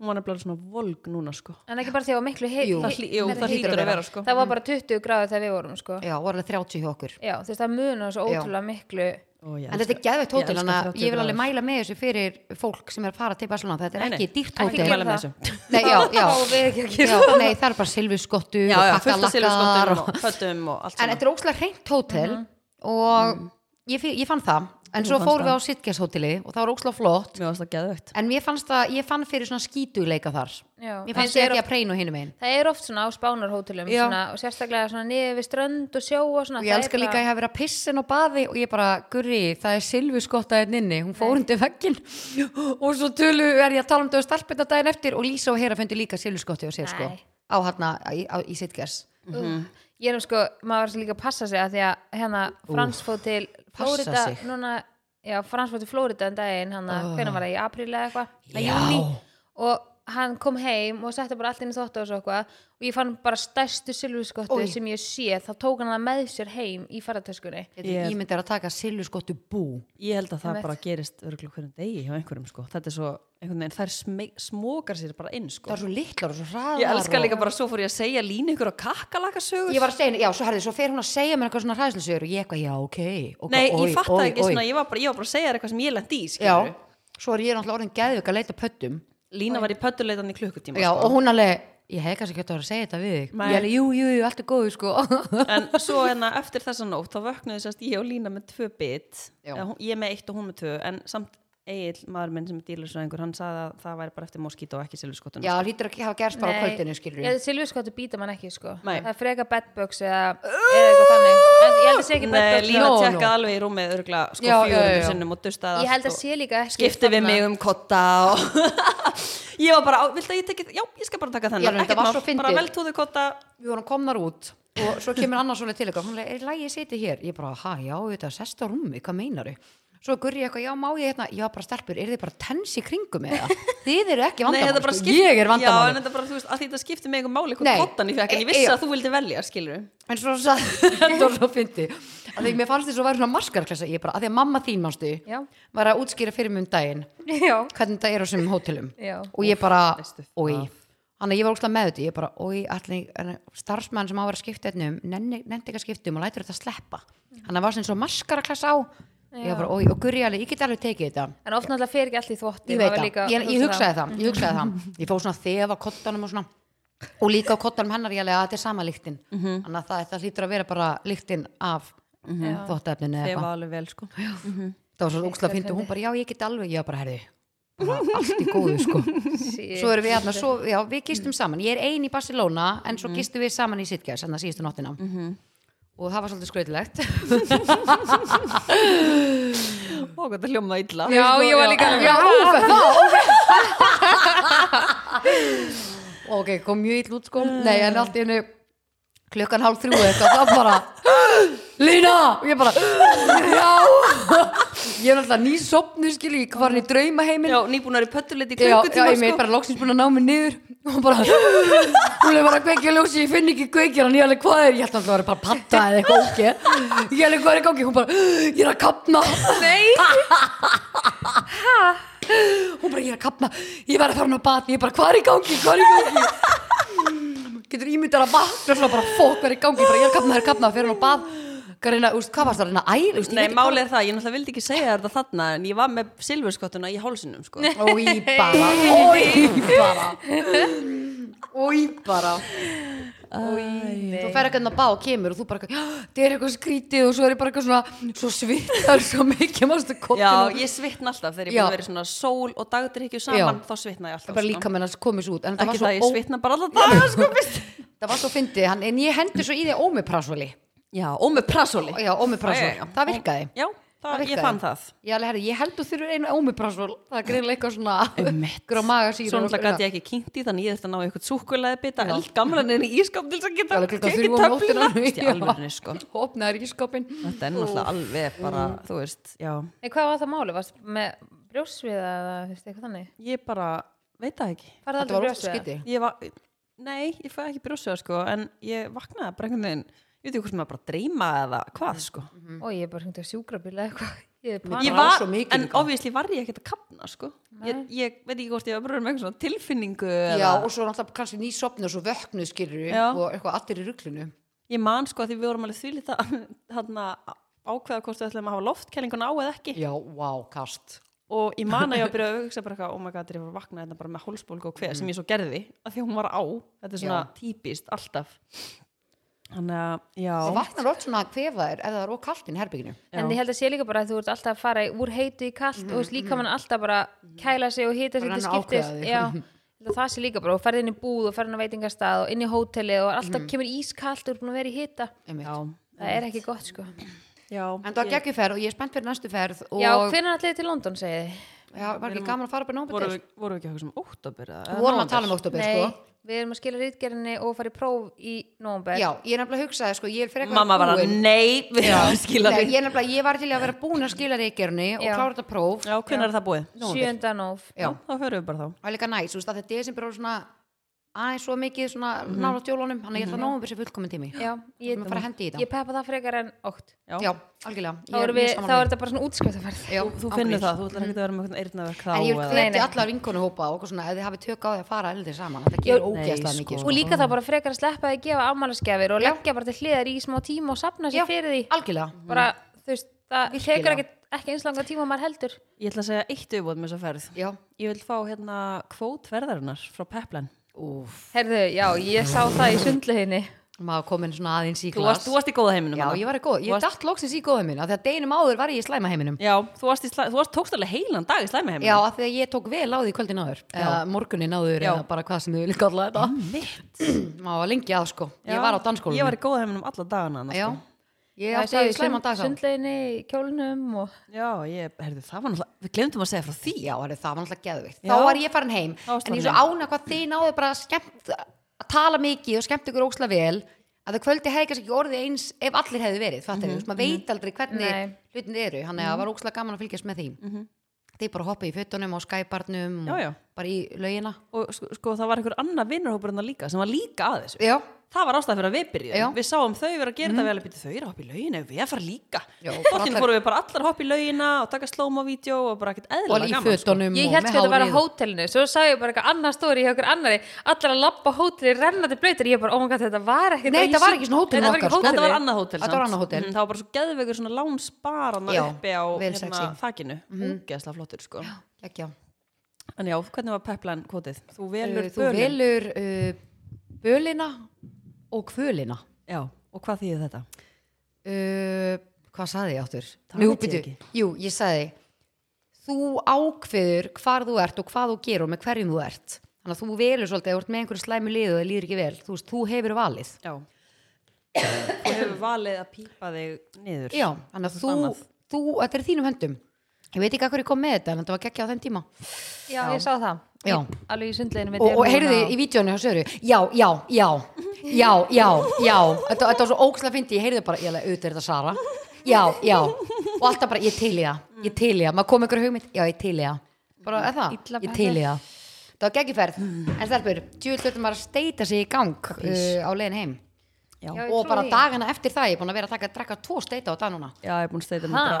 hún var nefnilega svona volg núna sko. en ekki bara þegar var miklu hei, Jú. það, hlý, jú, það hlýtur að hlýtur að vera. vera sko. það var bara 20 gráður þegar við vorum, sko, já, voru alveg 30 hjá okkur já, þú veist, það munar svo Já. ótrúlega miklu, Ó, ég En þetta er elska- geðveikt hótel, elska þannig að 30 ég vil alveg gráður. mæla með þessu fyrir fólk sem er að fara til Barcelona, þetta er Nei, nei. ekki dýrt Ekki hótel. Ekki mæla með það. þessu Nei, já, já. Þá við ekki að já nei, það er bara silfurskottu já, og já, fullt af pakkalakkar. silfurskottum Og... og föttum og allt [laughs] En saman þetta er ókslega hreint hótel Mhm. og ég, fi- ég fann það. En svo fannst fórum við á það. Sitges hóteli og það var ókslega flott. mjög að það geðvægt En mér fannst það, ég fann fyrir svona skítuleika þar. já, Mér En fannst það ég er ekki að preinu hinum einn. Það er oft svona á spánarhótelum Já. svona, og sérstaklega svona niður við strönd og sjó og svona Og ég elska líka að ég hafi verið að pissin á baði og ég bara, gurri, það er silfurskotta hérna inni, hún fór undir veggin [laughs] og svo tölu er ég að tala um þau stelpina daginn eftir og Lísa og Hera fundi líka silfurskotti og sér sko Nei. á hérna í, á- í sitgers. uh, Ég erum sko, maður er líka að passa sig að því að hérna Frans fóð til passa Flórida sig. núna, já, Frans fóð til Flórida en daginn, hann að, hvenær var það, í apríl eða eitthvað Nei, Já. júní. og hann kom heim og setti bara allt inn í þóttu og svo eitthvað og ég fann bara stærstu silfurskottu Oj. sem ég sé, þá tók hann það með sér heim í ferðartöskunni Ég Ég- myndi að taka silfurskottu bú. Ég held að það Einmitt. bara gerist örgulega hverjum degi hjá einhverjum sko. Þetta er svo, einhvern veginn, þær smeg- smókar sér bara inn Það sko. er svo litlar og svo hraðar. Ég elska og- líka bara svo fór ég að segja línu ykkur á kakkalakasögur. Ég var að segja, henni, já, svo herði, svo fer hún að segja mér eitthvað svona hræðslusögur og ég eitthvað, já, ok. Og Nei, hvað, oj, ég fatt oj, ekki oj. svona, ég var bara, ég var bara að segja þér eitthvað sem ég lendi í, Já, skilur. svo er ég náttúrulega orðin geðvik að leita að pöttum. Lína var í pöttuleitan í klukkutíma Já, og sko. hún alveg, ég hef kannski ekki að vera að segja þetta við þig. Nei. Ég alveg, jú, jú, jú, allt er góðu, sko. [laughs] En svo hérna eftir þessa nótt þá vöknuði sérst ég og Lína með tvö bit. Já. Eða hún- Ég með eitt og hún með tvö, en samt Egil, maður minn sem er dýrlisfræðingur hann sagði að það væri bara eftir moskít og ekki silfurskottun Já, hlýtur að hafa gerst bara á kvöldinu, skilur ég, Silfurskottu býta mann ekki sko Nei. Það er freka bedbugs eða eða eitthvað þannig En Ég held að sé ekki Nei, bedbugs Lína No, no. tjekkaði alveg í rúmið örgla sko Já, já, já, já. fjórum sinnum og dustaði Ég held allt að og sé líka ekki sko. skipti við þarna. mig um kotta og [laughs] ég var bara, á, viltu að ég teki já, ég skal bara taka Já, þennan, þetta var svo bara fyndið. veltúðu kotta Við vorum komnar út og svo kemur annars svona til eitthvað, hún er í lagi að setja hér ég bara, ha, já, þetta sest á rúmi, hvað meinaru svo gurri ég eitthvað, já, má ég hérna já, bara stelpur, er þið bara tens í kringum [laughs] eða þið eru ekki Nei, þetta bara vandamál, sko. skipti- ég er Já, en vandamál en... þetta bara, þú veist, að því þetta skipti mig um máli Nei. hvort kottan ég fekk, en ég E- vissi já. að þú vildi velja, skilur svo [laughs] sa- [laughs] þetta var svo fyndi að því mér fannst þið svo væri svona maskarklessa ég bara, að því að mamma þín manstu [laughs] Já. var að útskýra fyrir mig um daginn Já, hvernig þetta er á sem hótelum Já. og ég bara, veistu það. oi Þannig að ég var úrslega með þetta, ég bara, oi, allir starfsmann sem á að vera að skipta einnum, nefndi ekki að skipta um og lætur þetta sleppa. Mm. Þannig að það var svona svo maskaraklassa á, ég var bara, oi, og gurri alveg, ég get alveg tekið þetta. en oft náttúrulega fer ekki allt í þvotti Ég veit það, ég, ég hugsaði það, ég hugsaði það. Ég fór svona að þefa á kottanum og svona, og líka á kottanum hennar ég alveg að þetta er sama lyktin. Þannig að það, það hlýtur að vera bara lyktin af mm Já. þvottefninu eða Ég eitthvað var alveg vel, sko það var svo úkslega fyndi og hún bara, já, ég get alveg, ég var bara, herði bara allt í góðu, sko svo erum við hérna, svo, já, við gistum saman ég er ein í Barcelona, en svo Mhm. gistum við saman í Sitges, þannig að síðustu nóttina og það var svolítið skröðilegt Ó, hvað þetta hljómaði illa [laughs] Já, ég var líka [laughs] já, ófæð, þá, [laughs] ófæð ok, kom mjög ill út, sko Mm. nei, en allt í hennu klukkan hálf þrjú eitthvað, það bara Lína! Og ég bara, já [laughs] ég er alltaf nýsopnu, skilji, ég Mm. var hann í draumaheiminn Já, nýbúnar í pöttulit í já, já, klukkutíma, ég meir sko bara loksins búin að ná mig niður og bara, hún er bara að kveikja ljósi ég finn ekki kveikja hann, ég alveg hvað er ég held að það var bara patta eða eitthvað ógeð ég alveg hvað er í gangi, hún bara, ég er að kapna Nei, hún bara, ég er að kapna, ég verð að fara hann á batni ég bara, hvað er í gangi, hvað er í gangi getur ímyndar að batna svona bara, fokk, hvað er í gangi, ég bara, ég er að kapna, ég er að kapna fyrir hann á bat, hvað reyna, úst, hvað varst það að reyna æl, úst, Nei, málið er það, ég náttúrulega vildi ekki segja þetta þarna en ég var með silfurskottuna í hálsinum, sko ói bara, ói bara ói bara þú fer eitthvað að bá og kemur og þú bara, eitthvað, "Já, þetta er eitthvað skrítið og svo er ég bara eitthvað svona, svo svittar svo mikið, mástu Já, kottinu ég svitna alltaf þegar ég Já. búið að vera í svona sól og dagdrykju saman, Já. þá svitna ég alltaf bara sko. líka með hans komis út en það var Ekki svo, það, ég ó, svitna bara [laughs] alltaf daga, sko það var svo fyndið hann, en ég hendi svo í þig ómiprasoli Já, og með prasoli já, ómiprasoli, Já, já, já. það virkaði Já, það, virkaði. ég fann það ég, alveg, herri, ég held þú þurfur einu ómiprasol það er greinlega eitthvað svona [laughs] grá magasýra Svo náttúrulega gæti ég ekki kynnt í þannig ég þurfti að ná eitthvað súkulega bita eld gamlan en í ískap til þess að geta Það er klukkan tekið þrjú á nóttina. töfluna Í Já. alvörinu sko opnaður í skopin Þetta er náttúrulega alveg bara, þú veist, já hvað var það máli? Varst með brjósviða eða þú veist eitthvað þannig? Ég bara, veit það ekki þetta Farðu var aldrei ótt brjósviða? skytið Ég var, nei, ég fæði ekki brjósuða sko en ég vaknaði bara einhvern veginn ég veit ekki hvort sem að bara dreyma eða hvað sko Og ég er bara hringt á sjúkrabíla eða eitthvað. Ég er Ég panik. Ég Mhm. var var, svo mikið en líka. ofvísli var ég ekkert að kapna sko ég, ég veit ekki hvort ég var bara með einhvern svona tilfinningu Já, eða, og svo náttúrulega kannski nýsopnu og svo vöknu skilur Já. og eitthvað allir í rugglinu. Ég man sko að [laughs] því við vorum alveg þvílita þarna ákveða hvort við ætlum að hafa loftkælinguna á eða ekki Já, vá, wow, kast. og ég man að ég var að byrja að hugsa bara eitthvað, oh my god, þegar ég var að vakna þetta bara með hálsbólgu og hver sem ég svo gerði að því að hún var á, þetta er svona Mm. Já. típist alltaf þannig að, já Það vaknar orð svona að kvefa þér ef það er ókalt inn í herbygginu. En ég held að sé líka bara að þú ert alltaf að fara í- úr heitu í kallt og þú veist líka mann alltaf bara kæla sig og hita sig Mhm, Bara hann að til [laughs] skiptis. ákveða þig. Já, ég held að það sé líka bara og ferði inn í búð og ferði inn á veitingastað og inn í hótelið og Mhm. alltaf kemur ískallt og er búin að vera í hita. Einmitt. já, Það er ekki gott sko. já En það var geggjum ferð og ég er spennt fyrir næstu ferð og Já, hvernig allir til London segið þið? Já, var ekki gaman að fara upp í nómbetur? voru, voru við ekki að hugsa um óttabur Við vorum að tala um oktober, Nei, sko. við erum að skila rítgerinni og fara í próf í nómber. Já, ég er nefnilega að hugsa það, sko, ég er frekar mamma var að, búin. nei, við [laughs] erum að skila Nei, því ég er nefnilega, ég var til í að vera búin að skila reykjörni og Já. klára þetta próf. já, hvernig er það búið? 7. nóf. Já. þá hörum við bara þá Það var líka næs, þú veist, að þetta er sem byrjar svona aðeins svo mikið svona nála tjólunum, þannig að ég ætla að nómum þessi fullkomin tími. Já, Við ég, erum að fara að hendi í ég þetta. peppa það frekar en ótt. Já, algjörlega. Ég Þá er er, mjög við, sammála þá því. er þetta bara svona útskriftaferð. Já, þú án finnur gríns. það, þú ætlar ekki að vera með einhvern eyrnaverk þá En ég eða- hveti nei. allar vinkonuhópa og eitthvað svona, ef þið hafið tök á því að fara eldir saman, þetta gerir Nei, ógeðslega sko. mikið Og líka þá bara frekar að sleppa því að gefa afmælisgjafir og leggja bara til hliðar í smá tíma og sapna sér fyrir því. algjörlega Bara, þú veist, það Virkilega. tekur ekki, ekki eins langa tíma og maður heldur. ég ætla að segja eitt auðvóð með þessa ferð Já, ég vil fá hérna kvótverðarinnar frá Peplan úf Herðu, já, ég sá það í sundleginni. maður komin svona aðeins í Þú glas varst, þú varst í góða heiminum já, þarna. ég var í góð, Þú ég varst- datt loksins í góða heiminum af því að deginum áður var ég í slæma heiminum Já, þú varst, í slæ, þú varst tókst alveg heilan dag í slæma já, heiminum af því að ég tók vel á því kvöldin áður eða morgunin áður, Já. eða bara hvað sem þau vilja kalla þetta mitt maður var lengi að sko, ég var á danskólanum Ég var í góða heiminum alla dagana annars, já, sko. ég átti slæma dag sund... Sundleginni, í kjólnum og já ég, herðu, það var náttúrulega Við glemdum að segja frá því já, heyrðu, það var náttúrulega geðvikt Já. þá var ég farin heim, varstu en ég farin er svo ána hvað þið náðu bara skemmt að tala mikið og skemmt ykkur óksla vel að það kvöldi hefði kannski ekki orðið eins ef allir hefði verið, fattar mm Mhm, maður veit aldrei hvernig Nei. hlutin eru, hann mm. var óksla gaman að fylgjast með því þið bara hoppa í fötunum og skæparnum Mhm. Já, já. og bara í laugina Og sko, sko það var einhver annar vinnurhópur en það líka sem var líka að þessu já, það var ástæð fyrir að við byrjuðum Já. Mhm. við sáum þau vera að gera þetta vel að byrja þau eru að hoppa í laugina við erum að fara líka Já, og þóttin allar- fórum við bara allar að hoppa í laugina og taka slóma-vídeó og bara ekkert og eðlilega í gaman sko. fötunum Ég og held með sko að þetta var á hárið og- hótelinu Svo sá ég bara eitthvað annað stóri hjá okkur annari Allar að labba á hóteli, rennandi blöytir Ég bara, oh my god, þetta var ekki Nei, þetta var ekki svona hótelin Þetta var ekki okkar, sko. þetta hótelið var annað hótel Þetta var samt. annað hótel. Mhm, það var bara svo geðvegur svona lánsbarana Já, uppi á vel hérna, sexy. Mhm. þakinu ógeðslega flottur sko Geggjað. en já, hvernig var peplan kvotið? þú velur Uh, þú velur uh, bölina og kvölina já, og hvað þýðir þetta? uh, hvað saði ég áttur? Það veit ég bíddu. ekki. jú, ég saði þú ákveður hvar þú ert og hvað þú gerur og með hverjum þú ert þannig að þú velur svolítið, ef þú ert með einhverju slæmi lið og það líður ekki vel, þú veist, þú hefur valið já þú hefur valið að pípa þig niður já, þannig að Þú þú, bannað. þú þetta er í þínum höndum ég veit ekki að hverju kom með þetta en þetta var geggja á þenn tíma Já, ég sá það Já. Í- Alveg í sundleginu og, og heyrðu í vídjónu hjá Söru já, já, já, já, já, já þetta, þetta var svo ókslega fyndi, ég heyrði bara ég alveg auðvitað er þetta Sara, já, já og alltaf bara, ég til í það, ég til í það maður kom ykkur hugmynd, já, ég til í það bara, er það, Illa ég til í það það var geggjufærð, en stelpur djúvill þurftum maður að steita sig í gang uh, á leiðin heim já. Já, ég og trúi bara því. dagana eftir það, ég er búin að vera að taka að drekka tvo steita á dag núna já, ég er búin að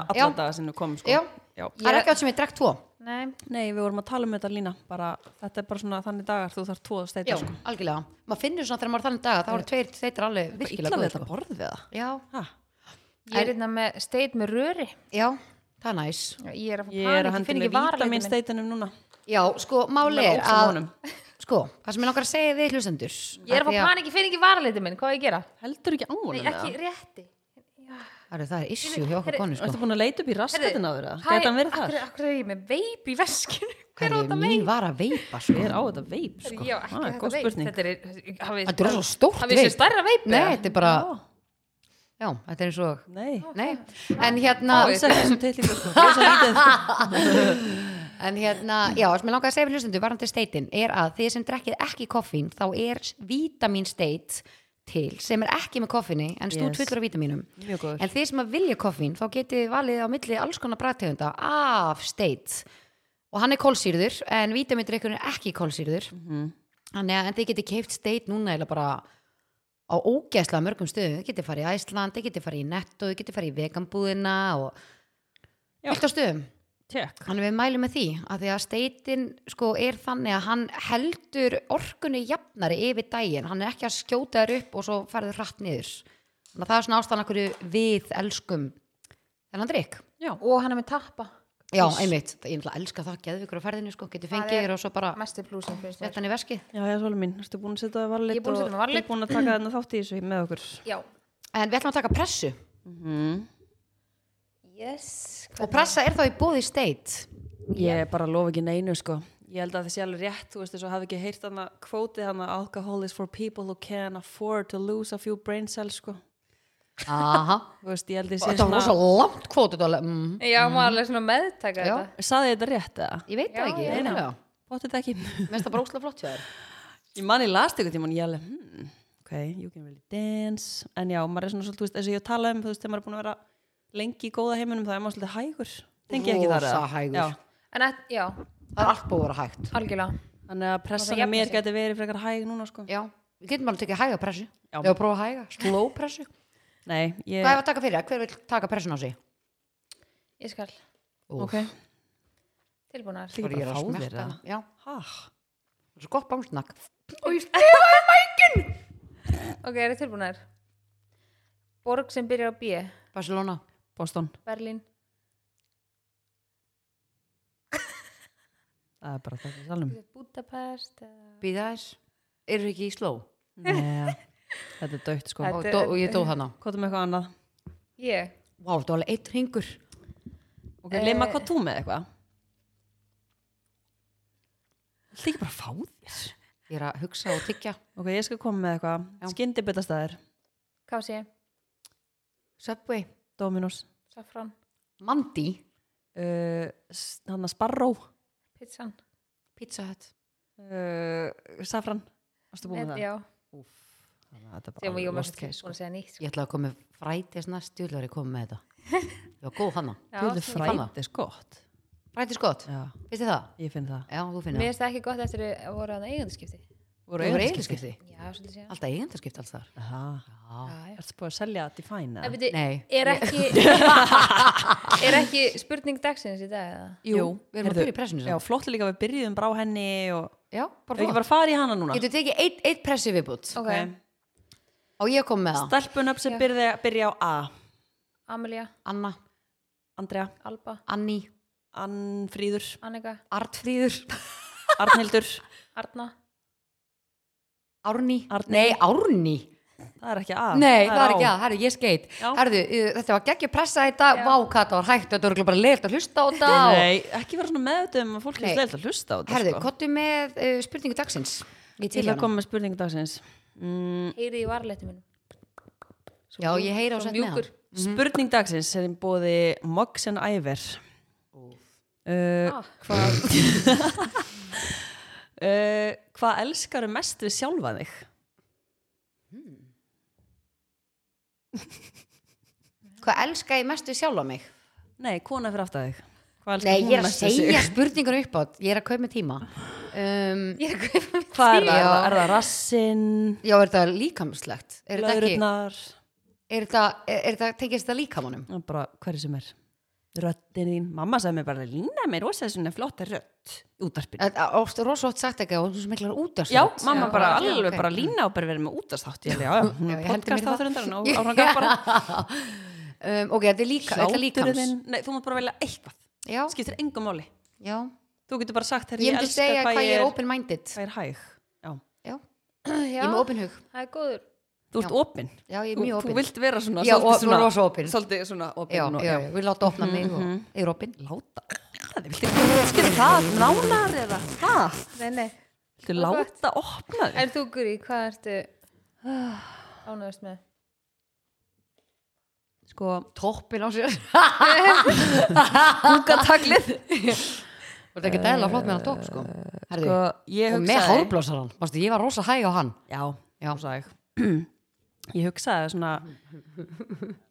steita mér Ha, bara já. alla daga sinni komum sko já, já. það er ekki átt sem ég drekk tvo Nei, Nei, við vorum að tala um þetta lína bara, þetta er bara svona þannig dagar þú þarf tvo að já, steita sko. algjörlega, maður finnur svona þegar maður er þannig daga þá eru tveir steitar alveg Bara illa virkilega við góðir, þetta sko. borð við það já, ha, ég er hérna með steit með röri já, það er næs Já, Ég er að ég er fara að hendi panik, ég finn með ekki varalegt vítamin steitunum núna Já, sko, máli Alveg er óksam að honum. sko, það sem ég langar að segja við hlustendur Ég er að af því fá panik, ég finn ekki varaliti minn, hvað á ég að gera? heldur ekki Nei, ánum ekki rétti Herru, það er issue hjá okkur konu, sko Ertu búin að leita upp í raskatin á þeirra? Gæti hann verið þar? Akkur er ég með veip í [laughs] veskinu? Hver á Herru, þetta veip? mín var að veipa, sko Ég er á þetta veip, sko. Já, ekki Ah, þetta góð veip. spurning. Þetta er, hafið, Þetta er svo stórt Hafið þessu veip. stærra veip? Nei, eða? þetta er bara Já, þetta er eins og Ah, Nei, Nei, en hérna alls ekki þessum teitlíku, sko. Það er svo lítið. [laughs] En hérna, já, sem ég langaði að segja við hlustendur varandi steitin er að þið sem drekkið ekki koffín þá er vítamin steit til sem er ekki með koffíni en stútt Yes. fullur af vítamínum Mjög góður. en þið sem að vilja koffín þá getið þið valið á milli alls konar brættegunda af steit og hann er kólsýrður en vítamindrykkurinn er ekki kólsýrður Mhm. þannig að en þið getið keift steit núna eða bara á ógæslega mörgum stöðum þið getið farið í Æsland, þið getið farið í Netto þið getið farið í veganbúðina og Já. fullt á stöðum Tjekk. Þannig við mælum með því að því að steitin sko er þannig að hann heldur orkunni jafnari yfir daginn hann er ekki að skjóta þér upp og svo ferður hratt niður. Þannig að það er svona ástæðan okkur við elskum þennan drikk. Já. Og hann er með tappa Já, einmitt. Ég er að elska það geðvikur á ferðinu sko, getur fengið er- þér og svo bara Mestu plúsin finnst mér þetta hann í veskið. Já, já, svolum mín. Ertu búin að setja það varleitt Ég er búin að setja það varlit. og búin að taka þarna þátt í þessu með okkur. Já En við ætlum að taka pressu Yes og pressa er þá í bóði steit. Ég bara lofa ekki neinu, sko. Ég held að það sé alveg rétt, þú veist, þess að hafi ekki heyrt hana kvótið hana alcohol is for people who can afford to lose a few brain cells, sko. Aha. Þú veist, ég held að það [laughs] sé Þetta var rosa langt kvótið. þetta var- Mm. Já, maður alveg svona meðtaka Já. þetta Saði ég þetta rétt, eða? Ég veit það Já, ekki. ég- eiginlega. Bóttið þetta ekki. Mér finnst það bara óslega flott hjá þér. Ég man ég last ykkur tíman, ég alveg, hmm, ok, you can really dance, en já, maður er svona svolítið, þú veist, eins og ég tala um, þú veist, þegar maður er búin að vera lengi í góða heiminum, það er maður svolítið hægur, tengi ekki þar. Rosa eða? hægur. Já, En að, já, Það er allt búið að vera hægt. algjörlega þannig að pressan jafnar að mér sig. geti verið frekar hæg núna, sko. Já, við getum alveg tekið hæga pressu Já. Við að prófa að hæga, slow [laughs] pressu Nei, ég, Hvað er að taka fyrir, hver vil taka pressun á sig? Ég skal ok, Tilbúnar Þykir Bara ég er að bara fá þér, smerta eða? hana. Já, ha, það er svo gott bámsnakk Ok, er þið tilbúnar? Borg sem byrjar á B Barcelona, Boston, Berlín það er um. [laughs] bara þetta í salnum. Budapest eða- býða þess Eru ekki í slow? Nei, Þetta er dögt sko. og, dó, og ég dó hana Hvað er með eitthvað annað? Ég, Vá, þetta var alveg eitt ringur Eh, Ok, uh, Lima, hvað þú með eitthvað? Þetta er ekki bara að fá þér. Ég er að hugsa og tyggja Ok, ég skal koma með eitthvað. Skyndi byttastæðir, hvað sé ég? Subway, Dominos, Safran, Mandi, uh, hann að Sparrow, pizzan Pizza Hut uh, Safran. Varstu búin Net- með það? Já, Úf, þannig að þetta er bara sem ég alveg var mest lost búin case að sko. segja nýtt sko. Ég ætlaði að koma með frætis næst Stjúlar ég kom [laughs] með þetta Ég var góð hana Já, Gullu svona- fann það. fræti er sko. gott. Frætis gott, Já, finnst þið það? ég finn það. Já, þú Mér finnir það finnst það ekki gott eftir að voru hann eigandaskipti Þú voru eiginskipti Já, svolítið síðan Alltaf eigindarskipt alls þar Það, Já, Já, já. ertu búin að selja Define? En eða? byrju, Nei. Er ekki [laughs] Er ekki spurning dagsins í dag eða? Jú, við erum að Heyrðu, byrja í pressinu Já, samt. flott líka við byrjuðum brá henni og Já, Við bara ekki flott bara fara í hana núna Getur tekið eitt, eitt pressi viðbútt Ok, Ok. Og ég kom með það Stelpun upp sem byrja, byrja á A Amelia, Anna, Andrea, Alba, Anni, Annfríður, Annika, Artfríður Arnhildur Arna Árni Árni. Nei, Árni Það er ekki A Nei, það er á. ekki að, herru, ég skeit Já. Herru, þetta var geggjum pressa í dag Já. Vá, hvað það var hægt, þetta voru bara leirt að hlusta á þetta Nei, ekki vera svona meðutum að fólk Nei. er sleilt að hlusta á þetta Herru, sko. kottu með uh, spurningu dagsins Ég Til að koma með spurningu dagsins mm, Heyrið í varletum minn Já, ég heyra á svo sett með mjúkur. hann Spurning dagsins er í bóði Mogs and Iver uh, Ah. Hvað uh, Hvað elskaru mest við sjálfa þig? Hvað elska ég mest við sjálfa mig? Nei, kona fyrir aftar þig Hvað elskar Nei, ég hún er að mest við sig? segja spurningur upp átt Ég er að kaupa mér tíma um, [laughs] Ég er hvað [laughs] Hvað er það? Er Já. það- Er það rassinn, Já, er þetta líkamslegt? Er þetta ekki? laururnar, Er þetta, er, er þetta, tengist þetta líkamanum? bara hverju sem er? Röttin þín, mamma sagði mér bara, lína mér rosa svona flotta rött í útarpinu. Þetta er oft, rosa oft sagt ekki og hún sem miklar út Já, mamma Já, bara já, alveg ok. bara lína og bara verið með útastátt. Já, já, hún Já, er ég hendi mér podcast það. þáttur undan [laughs] og árangar bara um, Ok, þetta er líka, þetta er hláturinn líkams þinn. Nei, þú má bara velja eitthvað. Já, Skiptir engum máli. já Þú getur bara sagt, herri, Ég ég myndi elska segja hvað ég er, open-minded hvað ég er hæg. Já, Já, Já, ég er með open hug það er góður þú ert opinn. Já, ég er Þú, mjög þú opin vilt vera svona, Já, svolítið og- svona, rosa opin. svolítið svona Já, opinn. og- Mhm. já, já, við láta opna mig og ég er opin láta opna þig, viltu útskýra það nánar eða hvað? Nei, nei Viltu láta opna þig? En þú Guri, hvað ertu ánægast með? Sko, Toppin á sér [laughs] kúkataglið Þú ert ekki dæla flott með hann topp, sko Herðu, Sko, ég og með hugsaði hárblósarann Mástu, ég var rosa hæg á hann Já, Já, sagði ég Ég hugsaði svona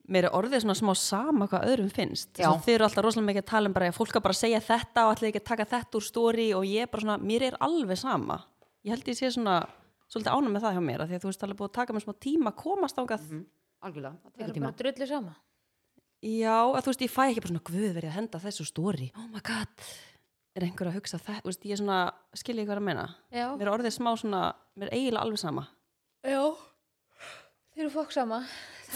mér er orðið svona smá sama hvað öðrum finnst Já. Svo þið eru alltaf rosalega mikið að tala um bara að fólk er bara að segja þetta og allir ekki að taka þetta úr stóri og ég er bara svona, mér er alveg sama ég held ég sé svona svolítið ánum með það hjá mér af því að þú veist alveg búið að taka mér smá tíma að komast ángað algjörlega, það Það tekur er tíma bara drullu sama Já, að þú veist, ég fæ ekki bara svona guð verið að henda þessu stóri. Oh my god, er einhver að hugsa það? Þú veist, ég er svona, skilja ég hvað er að meina. Já, Mér er orðið smá svona, mér er eiginlega alveg sama. já Þeir eru fólk sama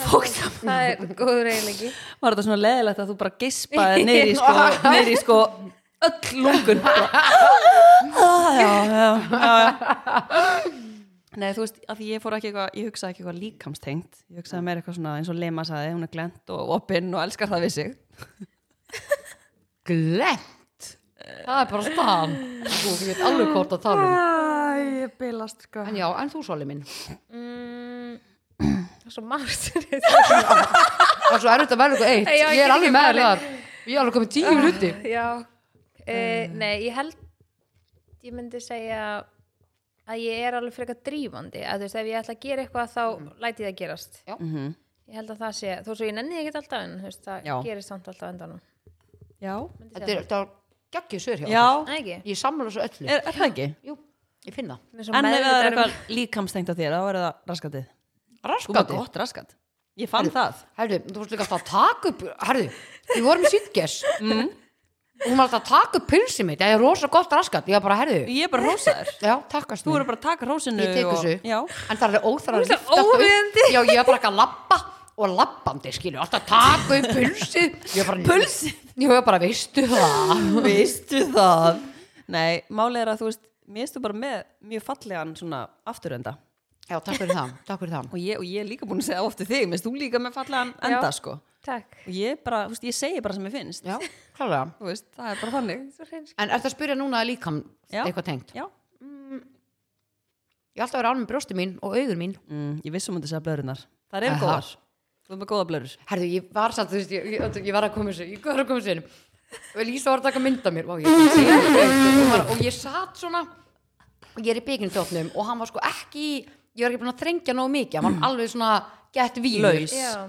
Fólk sama Það er góður eiginleiki Var þetta svona leðilegt að þú bara [laughs] gispaði niður í sko, niður í sko öll [laughs] lungun. Bara, ah, já, já, já, já. Nei, þú veist, að því ég fór ekki eitthvað, ég hugsaði ekki eitthvað líkamstengt. Ég hugsaði meira eitthvað svona eins og Lema saði, hún er glend og opinn og elskar það við sig. Glemt Það er bara staðan Þú þú veit alveg hvort að tala um Æ, ég bilast sko. En já, en þú soli minn Mm, Það er svo margt Og svo er þetta verður eitthvað eitt Já, ég Ég er alveg get ekki með valið. það Ég er alveg komið tíu hluti Já e, Nei, ég held ég myndi segja að ég er alveg frekar drífandi að þú veist, ef ég ætla að gera eitthvað þá læti ég það gerast ég held að það sé, þó svo ég nenni ekki alltaf en þú veist, það Já. gerist samt alltaf á endanum Já. Myndi Þetta segja er þetta var geggjur svör hjá Já. okkur. það. Nei, ekki? Ég sammála svo öllu Er, er það ekki? Jú, ég finn það Mér er svo En ef það er meðvitaður um- eitthvað líkamstengt á þér, þá er það raskatið. Þú er Raskandi gott raskat. Ég fann það. Herðu, þú varst líka alltaf að taka upp Herðu, við vorum í sýtges mm. Hún var alltaf að taka upp pilsið mitt Það er rosa gott raskat Ég var bara, herðu Ég er bara rósaður. Já, takkast Þú mér eru bara að taka rósinu. Ég tek og- þessu. Já. En það er alveg óþara að Þú ert lyfta alltaf upp. óviðeigandi. Já, ég var bara ekki að labba og labbandi, skilju, alltaf taka upp pulsið Ég var bara, Pulsið? Ég var bara, veistu það [laughs] Vistu það. Nei, málið er að þú veist, mér stu bara með mjög fallegan svona afturenda. Já, takk fyrir það, takk fyrir það. og ég, og ég er líka búin að segja ofta þig minnst þú líka með fallan enda Já. sko Takk. og ég bara, þú veist, ég segi bara sem ég finnst Já, klálega. þú veist, það er bara þannig Svo hreinskilin. En ertu að spyrja núna að líkam Já. eitthvað tengt? já, Ég er alltaf að vera án með brjósti mín og augun mín. mm, ég vissum að segja blörunar það eru Aha. góðar, þú erum með góða blörur Herðu, ég var satt, þú veist, ég, ég, ég var að koma sér, ég var að koma sér. Og Lísa var að taka mynd af mér, Vá, ég, er ekki að segja þetta, ég, var, og ég satt svona, og ég er í byggingdóknum og hann var sko ekki, ég var ekki búin að þrengja nógu mikið, hann var alveg svona gett víl. Laus. Já.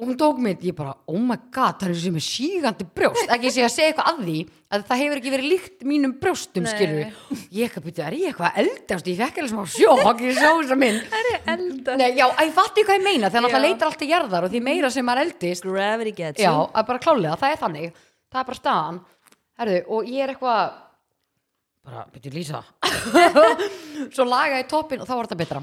Og hún tók mynd, ég bara, oh my god, það er sem er sígandi brjóst, ekki sé að segja eitthvað að því, að það hefur ekki verið líkt mínum brjóstum, Nei. skilur Ég ekki að byrja, er ég eitthvað eldast, ég fekk alveg smá sjokk, ég sá þessa mynd. Elda. Nei, já, ég fatti hvað ég meina þegar Já. náttúrulega leitar allt til jarðar og því meira sem maður eldist gravity gets Já, að bara klálega, það er þannig Það er bara staðan Herðu, og ég er eitthvað bara, byrju Lísa [laughs] Svo laga ég toppin og þá var þetta betra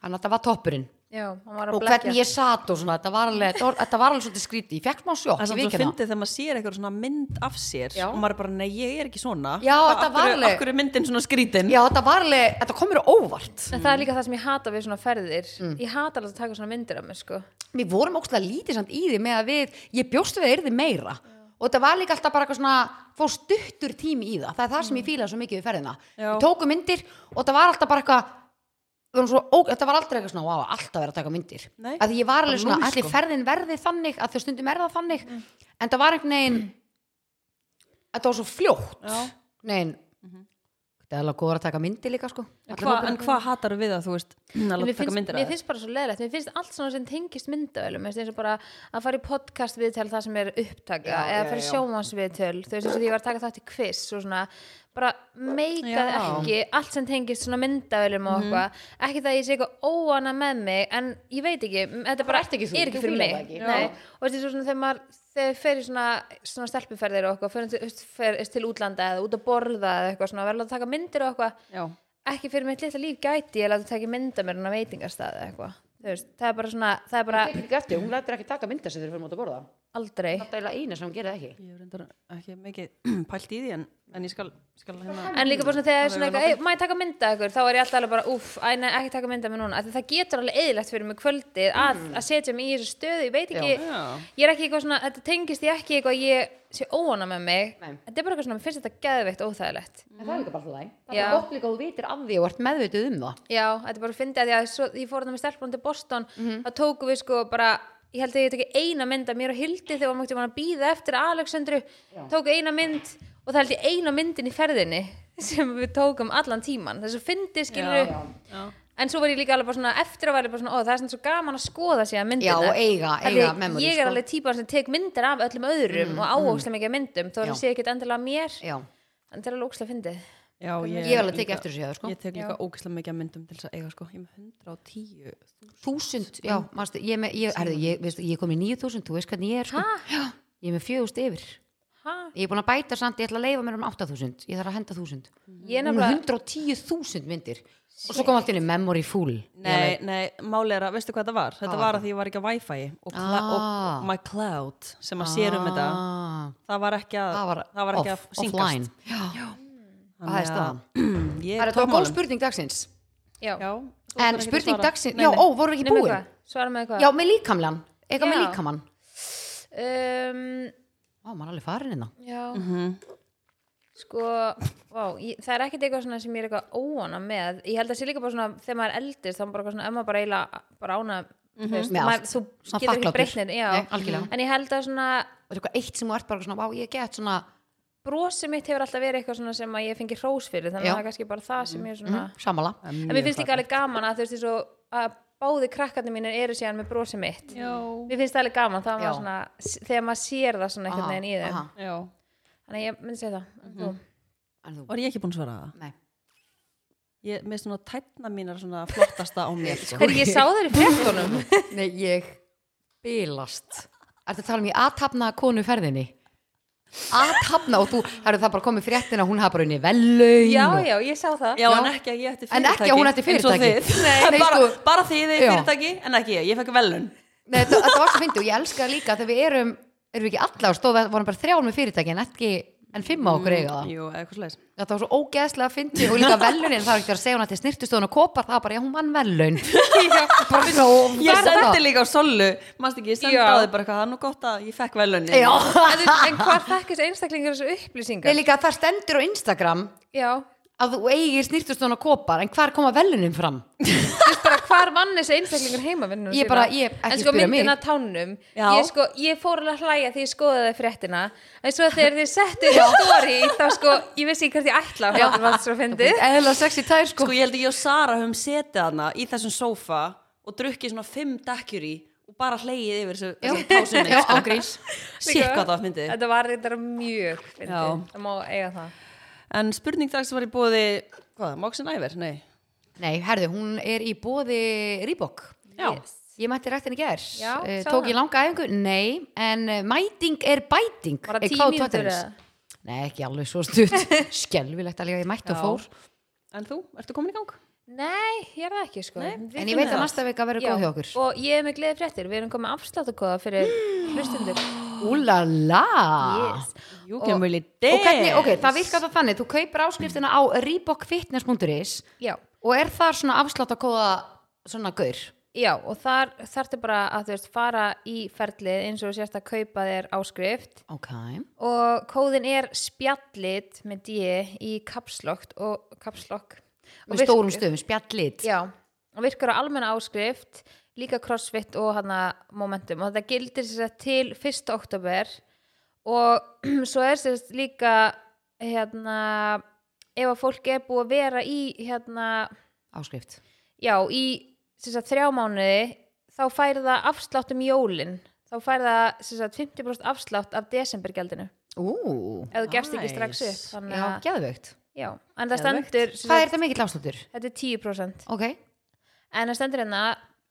Þannig að þetta var toppurinn Já, hann var að Og blekja. hvernig ég sat og svona, þetta var alveg, þetta var, þetta var alveg svolítið skríti Ég fekk smá sjokk, Það er ég samt svo vikið það fyndið þegar maður sér eitthvað svona mynd af sér Já. og maður er bara, nei, ég er ekki svona Já, þetta var alveg- Akkur er myndin svona skrítin Já, þetta var alveg, þetta komur óvart En það er líka það sem ég hata við svona ferðir. Mm. Ég hata alveg að taka svona myndir af mér, sko. Við vorum ókslega lítið samt í því með að við Ég bjóst við að yrði meira Og þetta var líka alltaf bara eitthvað svona Fór stuttur tími í það, það er það sem ég fílaði svo mikið við ferðina Mm. Já. Við tókum myndir og þetta var alltaf bara eitthvað við vorum svo, ó, Þetta var aldrei eitthvað svona, wow, alltaf verið að taka myndir Nei. Að ég var alveg Bara svona, núll, allir sko. Mm. ferðin verði þannig Að þau stundum er það þannig En það var einhvern veginn Þetta var svo fljótt Já. Mhm. Nein, þetta er alveg góður að taka myndir líka sko. En Allir hvað hópurinn. hva hvað hatar við að þú veist að Mér láta taka finnst, myndir mér af þér? finnst bara svo leðilegt. Mér finnst allt svona sem tengist myndavölum. Mér finnst eins og bara að fara í podcast viðtöl það sem er upptaka Já, eða já, fara í já. sjómans viðtöl. Þú veist eins og því ég var að taka þátt í quiz og svona bara meikað Já. ekki allt sem tengist svona myndavölum Mhm. og eitthvað. Ekki það að ég sé eitthvað óana með mig en ég veit ekki, m- þetta bara ert ekki þú, er ekki þú fyrir fílar mig. það ekki. Nei. Já. Og veist eins og svona þegar maður þegar fer í svona, svona stelpuferðir og eitthvað, fer til, fer til útlanda eða út að borða eða eitthvað svona, verður að taka myndir og eitthvað Já. ekki fyrir mitt litla líf gæti ég láta taka mynda mér en að veitingarstaði eða eitthvað Þú veist, það er bara svona, það er bara Ég tek ekki eftir, hún lætur ekki taka myndir sem þeir fyrir mót að borða aldrei Þetta er eiginlega eina sem hún gerir það ekki Ég er reyndar ekki mikið [clears throat] pælt í því en, en ég skal, skal hérna en líka bara svona þegar það er svona Það er eitthvað, ei, maður taka mynda ykkur þá er ég alltaf alveg bara, uff, æ, nei, ekki taka mynda mér núna Af því það getur alveg eðilegt fyrir mig kvöldið að, að setja mig í þessu stöðu, ég veit ekki Já. ég er ekki eitthvað svona, þetta tengist ég ekki eitthvað að ég sé óana með mig Nei. þetta er bara eitthvað svona, mér finnst þetta geðveikt óþægilegt En það er líka bara alltaf læg. Það Já. er gott líka að þú vitir af því og ert meðvituð um það. Já, þetta er bara að fyndi að því að svo, ég fór þarna með stelpunum til Boston Mhm. þá tókum við sko bara ég held að ég teki eina mynd af mér og Hildi þegar maður að býða eftir Alexandru tók eina mynd og það held ég eina myndin í ferðinni sem við tókum allan tíman þess að fyndi skilur Já. Já. en svo var ég líka alveg bara svona eftir að var ég bara svona ó það er svona svo gaman að skoða sér að Já, myndina og eiga- Af því eiga memories, ég er sko. Mm, alveg típa sem tek myndir af öllum öðrum og áhugsta mikið af myndum þó að Já. það sé ekkit endilega mér Já. en það er alveg ógstlega fyndið Já, Ég hef alveg tekið eftir þessu hjá þér, sko. Ég tek líka ógislega mikið af myndum til þess að eiga sko Ég er með 110 Þúsund, um- já, mástu, ég, er með, ég, herri, ég, veistu, ég er komin í nýju þúsund, þú veist hvernig ég er, sko. Já, ég er með fjögust yfir. ha? Ég er búin að bæta samt, ég ætla að leifa mér um átta þúsund, ég þarf að henda þúsund. ég er Um nefnilega hundra og tíu þúsund myndir. Og svo kom allt inn í memory full. Nei, nei, máli er að, veistu hvað þetta var? Þetta var að því ég var ekki á Wi-Fi og, cla- Ah. og my cloud sem að sér um þetta Ah, það var ekki að, það var, ekki off, að syngast offline. Já, það er staðan. [clears throat] Ég Það er er það góð tókmálum spurning dagsins. já. Já, þú En ætlar ekki að spurning svara. dagsins, Nei, já, nei. ó, voru ekki Nei, með búin? hvað? svara með hvað Já, með líkamlan. Eitthvað með Já. líkamann. um, Ó, maður er alveg hérna. farin innan. já Mhm. sko, vá, ég, það er ekkert eitthvað svona sem ég er eitthvað óana með ég held að sé líka bara svona, þegar maður er eldist þá er bara eitthvað svona, ef maður bara eiginlega bara ána mm -hmm. Mhm. Með allt. þú Svona getur ekki þakklátur. breytnir já, Nei, algjörlega. en ég held að svona og þetta er eitthvað eitt sem þú ert bara svona, vá, ég get svona brosi mitt hefur alltaf verið eitthvað svona sem að ég fengi hrós fyrir, þannig Já. Mhm. að það er kannski bara það sem ég er svona, samala en mér finnst líka alveg gaman að þú veist þessu að báði krakkarnir mínir eru síðan með brosi mitt Já, mér finnst það alveg gaman, Já. það var svona þegar maður sér það svona eitthvað neginn í þeim aha. Mhm. já þannig að ég myndi segja það, mm þú En þú, Var ég ekki búin að svara það? nei Ég, mér svona tætna mínar svona flottasta á [laughs] mér sko. Þegar ég sá þær í fréttunum [laughs] Nei, ég bilast Ertu að tala um ég aðtapna konu ferðinni? Aðtapna og þú, herru það bara komið fréttin að hún hafa bara unni vellun Já, og, já, ég sá það Já, en ekki að ég ætti En fyrirtæki ekki að hún ætti eins og fyrirtæki. þið. Nei, nei, bara, sko. bara þið er Já. fyrirtæki en ekki ég, ég fekk velun Nei, þetta, þetta var svo fyndi og ég elska líka þegar við erum, erum við ekki allar stóð, við vorum bara þrjálum með fyrirtæki en ekki, en fimm á okkur eiga það Jú, eða eitthvað slags þetta var svo ógeðslega fyndi og líka velunin það var ekki að segja hún að til snirtustofun og kopar það var bara, já hún vann velun bara svo Ég verða. sendi líka á Sollu Mást ekki, ég sendi Já. á þig bara eitthvað Það er nú gott að ég fekk velunni [laughs] já [laughs] en, þú- en hvað þekkist einstaklingur þessu Nei, upplýsingar? líka, það stendur á Instagram Já, að þú eigir snirtustofun og kopar en hvar koma velunin fram þú veist bara hvar vann þessi einstaklingur heimavinnum Ég bara- ég- ekki En sko spyrja mig. myndina af tánum Já. ég, sko, ég fór alveg að hlæja því ég skoði það fréttina En svo þegar þið settu í story Þá sko, ég vissi ekki hvert ég ætla Og hvað það svo fyndið eðla sexy tær sko Sko ég held að ég og Sara höfum setið hana í þessum sófa og drukkið svona fimm dekkjur í og bara hleyið yfir þessu, Já. þessu sko, tásunni Já, án [laughs] gríns. Sér hvað það myndi Þetta var reyndar mjög Já. fyndið Það má eiga það En spurning dags var í bóði Hvað, Móksin Æver? Nei Nei, herðu, hún er í bóði Reebok. Já. Ég mætti rættin í gær. Já, Eh, sá Tók það. ég langa æfingu? Nei, en eh, mæting er bæting. Var það Eh, tíu hvað á mínútur Tottenhams? eða? Nei, ekki alveg svo [laughs] stutt. Skelvilegt alveg að ég mætti og Já. fór. En þú, ertu komin í gang? Nei, ég er það ekki sko Við En ég finnum veit að það. næsta vika verður Já, góð hjá okkur. og ég er með gleði fréttir, við erum komið afsláttakóða fyrir hlustundur Úlala! Oh. Ah. yes. You can really Og hvernig, ok, dance. það virkar það þannig. Þú kaupir áskriftina á reebokfitness.is já, og er þar svona afslátt að kóða svona gaur. já, og þar þarftu bara að þú veist fara í ferlið eins og þú sérst að kaupa þér áskrift Ok. og kóðin er spjallit með D í kapslokk og kapslokk Með stórum stöfum, spjallit. já, og virkar á almenna áskrift líka crossfit og hana momentum og þetta gildir sér til 1. oktober og [clears throat] svo er sér líka hérna ef að fólk er búið að vera í hérna, Áskrift. já, í sem sagt, þrjá mánuði þá fær það afslátt um jólin þá fær það sem sagt, 50% afslátt af desembergjaldinu Ú, ef þú gefst ekki Nice. strax upp þannig já, að, geðveikt. já, en það Geðveikt. stendur sem Hvað er sagt, þetta mikill afsláttur? þetta er 10% Ok. en það stendur hérna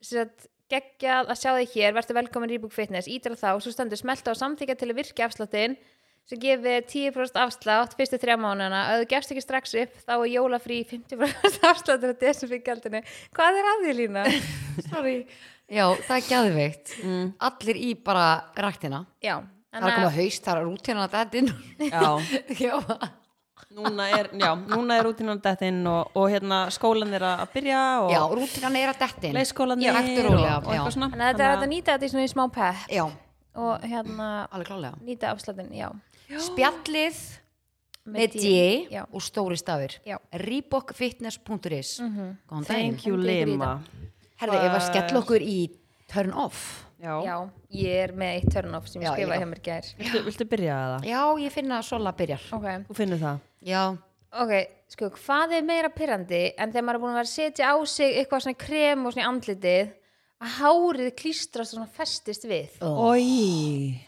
sem sagt, geggjað að sjá þig hér, verður velkomin í Rebook Fitness, ítra þá, svo stendur smelta og samþykja til að virka afsláttinn sem gefi þér 10% afslátt fyrstu þrjá mánuna ef þú gefst ekki strax upp, þá er jólafrí 50% [laughs] afsláttur á desembergjaldinu hvað er að því [laughs] lína? sorry Já, það er gæðveikt. Allir í bara ræktina. já, Það er Mm. að koma haust, það er rútina að þetta inn. Já, [laughs] Já. núna er, já, núna er rútinan dettinn og, og hérna skólan er að byrja og Já, rútinan er að þetta inn. leikskólan Já, er hægt og og, rólega, og eitthvað já. svona þannig að þetta er hægt að nýta þetta í svona í smá pepp Já, og hérna alveg klálega. nýta afsláttinn, já Spjallið með D já, og stóri stafir. já, Reebokfitness.is Góðan daginn. Thank you Lima Herði, ef að skella okkur í turn off. já ég er með eitt turn off sem ég Já, já. skrifaði hjá mér í gær [laughs] Viltu, viltu byrja að það? Já, ég finna að Sola byrjar. ok, Þú finnur það Já, Ok, sko, hvað er meira pyrrandi en þegar maður er búin að vera að setja á sig eitthvað svona krem og svona í andlitið að hárið klístrast og svona festist við. Ói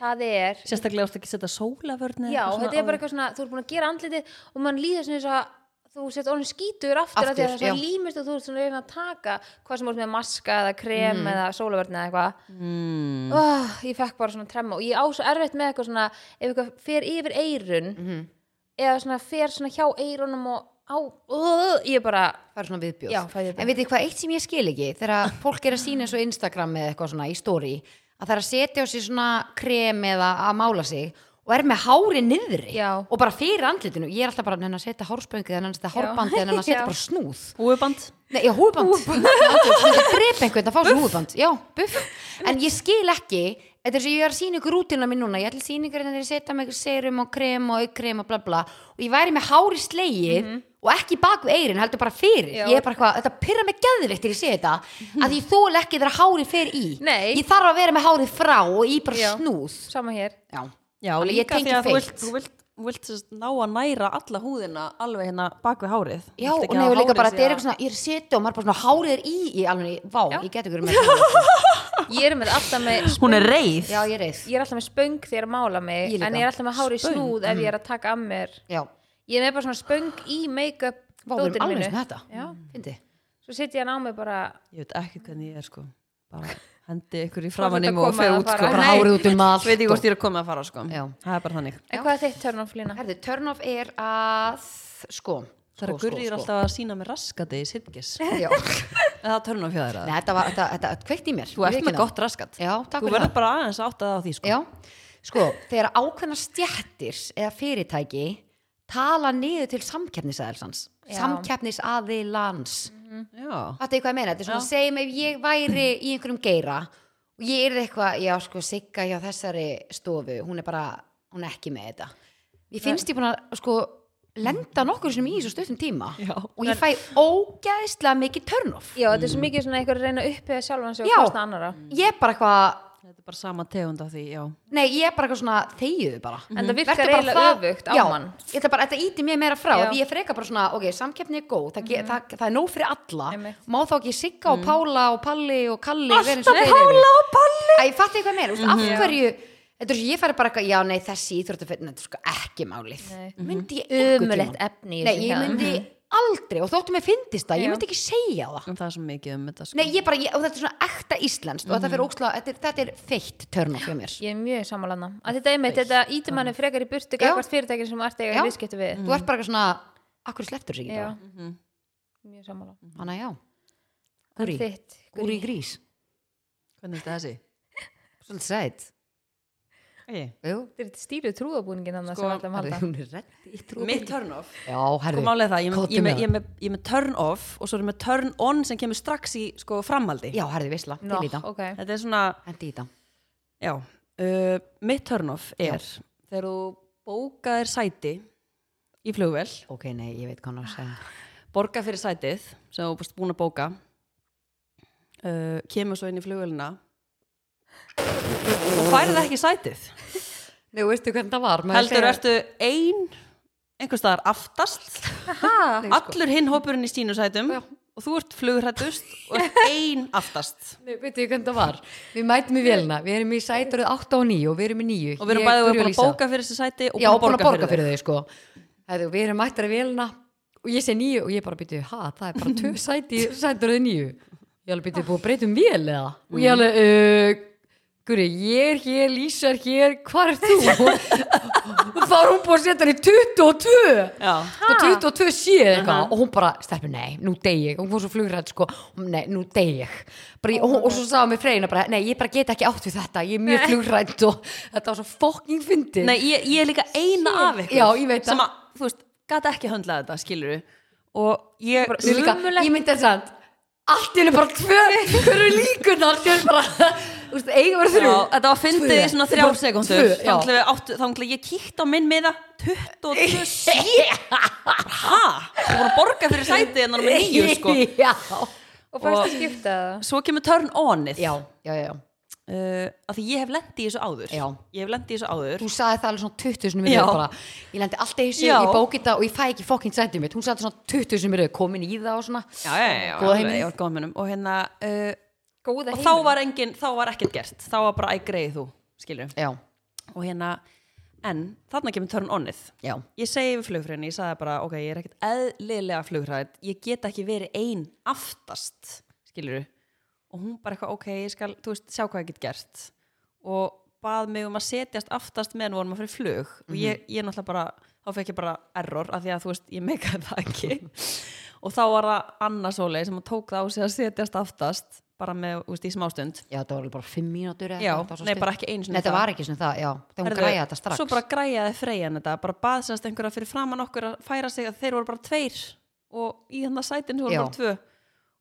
Það er, Sérstaklega ástu ekki að setja sólavörn já, þetta er bara eitthvað svona, þú ert búin að gera andlitið og mann líður svona eins og að þú sett orðin skítur aftur, aftur að Aftur, því að það er svona já. límist og þú ert svona að reyna að taka hvað sem er með maska eða krem eða sólavörn eða eitthvað. mm. oh, ég fekk bara svona tremma og ég á svo erfitt með eitthvað svona ef eitthvað fer yfir eirun eða svona fer svona hjá eirunum og á, uh, ég bara það er svona viðbjóð. Já, fæ viðbjóð. En veitir hvað, eitt sem ég skil ekki, þegar [laughs] fólk er að sína svo Instagram eða eitthvað svona í story, að það er að setja á sig svona krem eða að mála sig og er með hári niðri Já. og bara fyrir andlitinu. Ég er alltaf bara neina að setja hárspöngið, neina að setja hárbandið, neina að setja [laughs] Já. bara snúð. Húfuband Nei, já, húfuband. Húfuband. Drep einhvern að fá sér húfuband. Já, buff. En ég skil ekki, þetta er sem ég er að sína ykkur rútina mín núna, hérna ég ætla síningar en þeir setja mig serum og krem og aukrem og bla bla og ég væri með hári slegið og ekki bak við eirin, heldur bara fyrir. Já. Ég er bara eitthvað, þetta pyrra mig geðvikt þegar ég sé þetta, að ég þóla ekki þegar hári fer í. Nei. Ég þarf að vera með hárið frá og í bara Já. snúð. sama hér Já. Já, Þannig ég líka tengi því að þú feilt. vilt, þú vilt, þú vilt sérst, ná að næra alla húðina alveg hérna bak við hárið Já, Vilt og ekki nei, að og líka hárið bara, sé þetta er að- eitthvað svona, ég er að setja og maður bara svona hárið er í, í alveg, vá, ég get ykkur með ég er með alltaf með Hún er reið Já, ég er reið. ég er alltaf með spöng þegar ég mála mig Ég líka. en ég er alltaf með hári Spöng? snúð ef ég er að taka af mér Já. ég er með bara svona spöng í make-up Vá, við erum dótinu alveg mínu. sem þetta. Mm. Já. Fyndi. svo setja ég hann á mig bara Ég veit ekki hvernig ég er sko bara hendi ykkur í þetta framanum og koma fer að út fara. sko Bara Nei, hárið út um allt Veit ekki og- hvort ég er að koma að fara sko Já. Það er bara þannig en hvað er þitt turn off lína? Herðu, turn off er að sko. Það er að gurrið alltaf að sína með raskati í sirkis Já. [laughs] Eða það törnum fjöður Nei, þetta var, þetta, þetta, þetta kveikt í mér. Ég Þú ert með viðurkenni það. gott raskat Já, takk Þú fyrir verður það. bara aðeins að átta það á því sko Já. sko, þegar ákveðna stjættir eða fyrirtæki tala niður til samkeppnisaðilsans Já. samkeppnisaðilans já, Þetta er hvað ég meina, þetta er svona Já. segjum ef ég væri í einhverjum geira og ég er eitthvað, já sko, sigga hjá þessari stofu, hún er bara, hún er ekki með þetta. Ég finnst ég búin að sko lenda nokkur sem í þessu stuttum tíma Já. og ég fæ ógæðslega mikið törnof. Já, þetta er svo mikið svona einhver að reyna að upphefða sjálfan sig Já. og kosta annara. Ég er bara eitthvað, þetta er bara sama tegund af því, já nei, ég er bara eitthvað svona þegiðu bara. En það virkar Mhm. Vertu bara eiginlega það- öfugt á já, mann. Ég ætla bara, þetta íti mér meira frá, Já. Mhm. því ég freka bara svona, ok, samkeppni er góð, það, mm það, það er nóg fyrir alla, Einmitt. Mhm. má þá ekki sigga og Pála og Palli og Kalli vera eins og Alltaf þeir eru? Pála og Palli að ég fatti eitthvað meira, mm Mhm. af hverju þetta er svo, ég færi bara eitthvað, já nei þessi íþróttafetin þetta er sko ekki málið Nei. myndi ég einhvern Ömulegt tímann- efni í hérna. nei, þessum ég hefðum. myndi aldrei, og þóttum ég fyndist það ég Mhm. Já. myndi ekki segja það en það er svo mikið um þetta sko. nei, ég bara, ég, og þetta er svona ekta íslenskt og þetta fyrir óksla, þetta, er- þetta er feitt törnum hjá mér [laughs] Mhm. Ég er mjög sammálaðna. Að þetta einmitt, þetta ítum manni frekar í burtu gagvart fyrirtækir sem ert Mhm. eiga Já. Mm. í viðskiptu við. þú ert bara eitthvað svona, akkur slettur sér ekki Mhm. bara Já, Mhm. mjög sammála. þannig að já, En gúri, Þitt. gúri grís hvernig er þetta þessi? svolítið sætt Æi. Jú. Þetta er stýru trúabúningin annars Sko, sem alltaf Herðu, halda. hún er redd í trú mitt turn off já, Sko herðu, málið er það, ég, Kóddu ég, með ég, það. ég, með- ég með turn off og svo er ég með turn on sem kemur strax í sko, framhaldi já, herðu, visla, Nó, til í það ok. þetta er svona, hendi í það já uh, mitt turn off er þegar þú bókaðir sæti í flugvel ok, nei, ég veit hvað hann á að segja borga fyrir sætið sem þú búst búin að bóka uh, kemur svo inn í flugvelina og færið ekki sætið Nei, og veistu hvernig það var? maður heldur segir- ertu ein einhver staðar aftast Nei, sko. allur hinn hópurinn í sínu sætum Já. og þú ert flugrættust og ert ein aftast Nei, veitu hvernig það var? Við mætum í vélina, við erum í sætaröð 8 og 9 og við erum í 9 og við erum bæðið búin að bóka fyrir þessi sæti og Já, búin búin að borga fyrir þau, sko Hefðu, Við erum mættar í vélina og ég segi 9 og ég bara byrju, ha, það er bara [laughs] 2 sæti í sætaröð 9 Ég alveg byrju búið að breyta um vél eða og ég alveg, uh, guri, ég er hér, Lísa er hér, hvar er þú? [laughs] og þá er hún búin að setja hann í 22 Já, sko 22 sé eða eitthvað og hún bara, stærpi, nei, nú dey ég hún fór svo flugrætt, sko, nei, nú dey ég bara, ég- og, og svo sagði mér freyna bara, nei, ég bara get ekki átt við þetta, ég er mjög flugrætt og þetta var svo fokking fyndið nei, ég, ég er líka eina af ykkur Já, ég veit sem það. að, þú veist, gæti ekki höndlað þetta, skilur og ég, Mér líka, ég myndi þess að allt er bara tvö, tvö eru líkun allt er bara, þú veist, eiga verið já, þrjú þetta var fyndið í Tvö. svona þrjár Bara sekundur tvö, já. þá ætla ég kíkt á minn miða 22 [laughs] sé ha, þú voru að borga fyrir sæti en það er með nýju, sko já, Og fyrst að skipta það. svo kemur turn onið já, já, já, já. uh, af því ég hef lendið í þessu áður Já. ég hef lendið í þessu áður þú sagði það alveg svona 20 sinni Já. mér bara, ég lendi alltaf í þessu, Já. ég bóki þetta og ég fæ ekki fokkin sætið mitt, hún sagði þetta svona 20 sinni mér komin í það og svona já, já, já, Góða alveg, heimilið. já, góða munum og hérna uh, Góða og heimil. þá var engin, þá var ekkert gert þá var bara æg greið þú, skilur já, og hérna, en þarna kemur törn onnið já, ég segi við flugfræðinni, ég sagði bara ok, ég er ekkert eðlilega flugfræðin ég get ekki verið ein aftast skilur og hún bara eitthvað, ok, ég skal, þú veist, sjá hvað ég get gert og bað mig um að setjast aftast meðan við vorum að fyrir flug Mhm. og ég, ég náttúrulega bara, þá fekk ég bara error af því að þú veist, ég meikaði það ekki [laughs] og þá var það Anna Sólei sem tók það á sig að setjast aftast bara með, þú veist, í smástund já, það var alveg bara 5 mínútur eða Já, eitthvað, það var svo nei, stutt. bara ekki einu sinni Nei, þetta það. var ekki svona það, já, þegar hún Herðu, græja þetta strax Svo bara græjaði freyjan þetta, bara baðsast einhverja fyrir framann okkur að færa sig að þeir voru bara tveir og í þannig sætin voru Já. bara tvö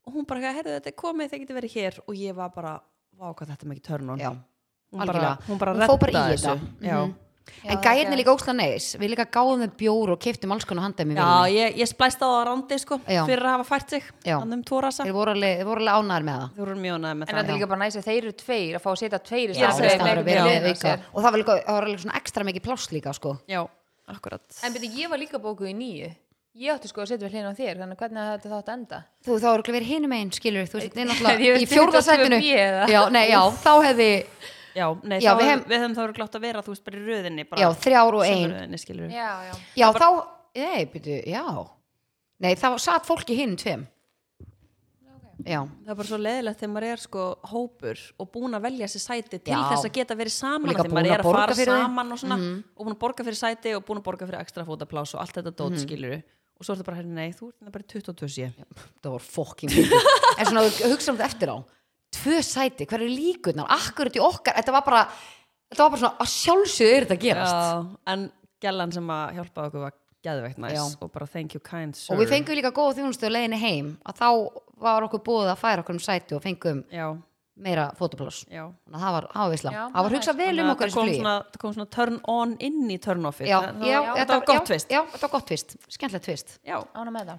og hún bara, herðu þetta er komið, þeir getur verið hér og ég var bara, vá hvað þetta er mikið törn já, hún bara, algjörlega. hún bara Hún fór redda bara í þessu þetta. Mhm. Já, Já, en það gæðin gerðist. er líka ósla neis við líka gáðum þeim bjór og keftum alls konar handæmi já ég, ég splæst á það á rándi sko, Já. fyrir að hafa fært sig Já. hann um tórasa, þeir voru alveg, þeir voru alveg ánæður með það þú voru mjög næði með En það þetta er líka bara næs að þeir eru tveir að fá að setja tveir í Já, staðinn þú veist, fyrir það var vel einhvern við við hliðina á auka. sér. og það var líka, það var alveg svona ekstra mikið pláss líka sko. Já, akkurat En byrju, ég var líka bókuð í nýju. Ég átti sko að setja við hlýna á þér, þannig að hvernig þetta þátt enda? þú þá eru verið hinum einn skilur þú veist, [laughs] þetta er Ég náttúrulega veit í fjórða 22B sætinu eða? já, nei, [laughs] já, þá hefði Já, nei, Já, við þá, við, hefum- við hefum þá verið glátt að vera, þú veist, bara í röðinni bara, já, þrjár og sömu ein röðinni, skilurðu. Já, já. já, þá, nei, byrju, já nei, þá satt fólk í hinum tveim já, [laughs] Það er bara svo leiðilegt þegar maður er sko hópur og búin að velja sér sæti til Já. þess að geta verið saman Og líka af því maður búin er að að borga fara fyrir þau. Mhm. saman og svona og búin að borga fyrir sæti og búin að borga fyrir ekstra fótaplás og allt þetta dót Mhm. mm og svo er þetta bara, hérna, nei, þú ert bara í 22 sé það voru fokkin mikið. en svona hugsa um þetta eftir á tvö sæti, hverju líkurnar, akkurat í okkar þetta var bara, þetta þetta var bara svona að sjálfsögðu er þetta að gerast Já, en gellan sem að hjálpaði okkur var geðveikt næs og bara thank you kind sir og við fengum líka góða þjónustu á leiðinni heim að þá var okkur búið að færa okkur um sæti og fengum já, meira fotopláss já þannig að það var ávisla Já, það var hugsað vel um okkur í það kom, flugi. svona, það kom svona turn on inn í turn offið já, það, já, það, var gott tvist já, þetta var gott tvist, skemmtilegt tvist já, Ána með það.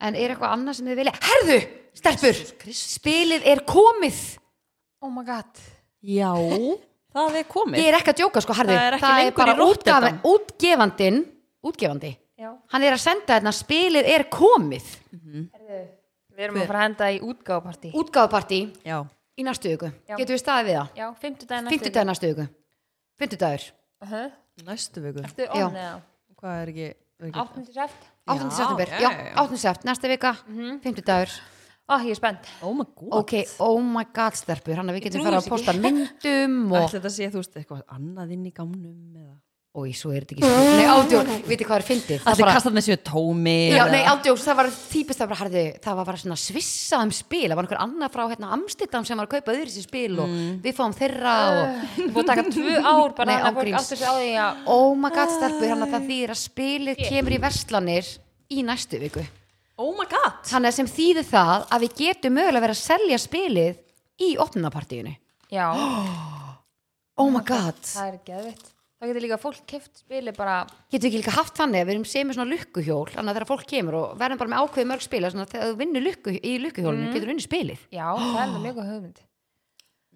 en er eitthvað annað sem þið vilja herðu, stelpur, spilið er komið Oh my god. já. það er komið ég er ekki að djóka sko, herðu Það er ekki lengur í bara útgaf, Rotterdam. útgefandin útgefandi, Já. hann er að senda hérna spilið er komið Við erum að fara að henda í útgáfapartí. útgáðparti já, í næstu viku, Já. getum við staðið við það Já, fimmtudaginn fymtudagur næstu viku fymtudagur, Hö? næstu viku Ertu Já. on eða? hvað er ekki, er ekki Áttundur sæft? 8. Já, september já, já, já, Mhm. já. 8. september, næsta vika, fymtudagur Ó, ég er spennt. oh my god ok, oh my god stelpur hann að við getum trúi fara þessu að posta [laughs] myndum og ætla þetta sé þú veist eitthvað annað inn í gamnum eða Ói, svo er þetta ekki svo. Nei, ándjók, viti hvað er fyndið? Það allir bara, kastar með sér tómi já, eða- nei, ándjók, það var típist það bara, harði, það var bara svona svissað um spil, það var einhver annað frá hérna Amstidam sem var að kaupa öðru sér spil og við fáum þeirra og, Þú búið að taka [laughs] tvö ár Mm. [laughs] bara Nei, þannig að fólk ángríns. áttur sig á því að oh my god, stelpur, hann að það þýðir að spilið kemur í verslanir í næstu viku. oh my god Þannig að sem þýðir það að við getum mögulega verið að selja spilið í opnunapartíinu. [gasps] Já, Oh my god, það er geðvitt. Það getur líka fólk keft spili bara getum við ekki líka haft þannig að við erum sem með svona lukkuhjól, þannig að þegar fólk kemur og verðum bara með ákveðið mörg spila, þannig að þegar þú vinnur lukku, í lukkuhjólinu, Mhm. getur þú vinnur spilið. Já, það er alveg mjög góð hugmynd.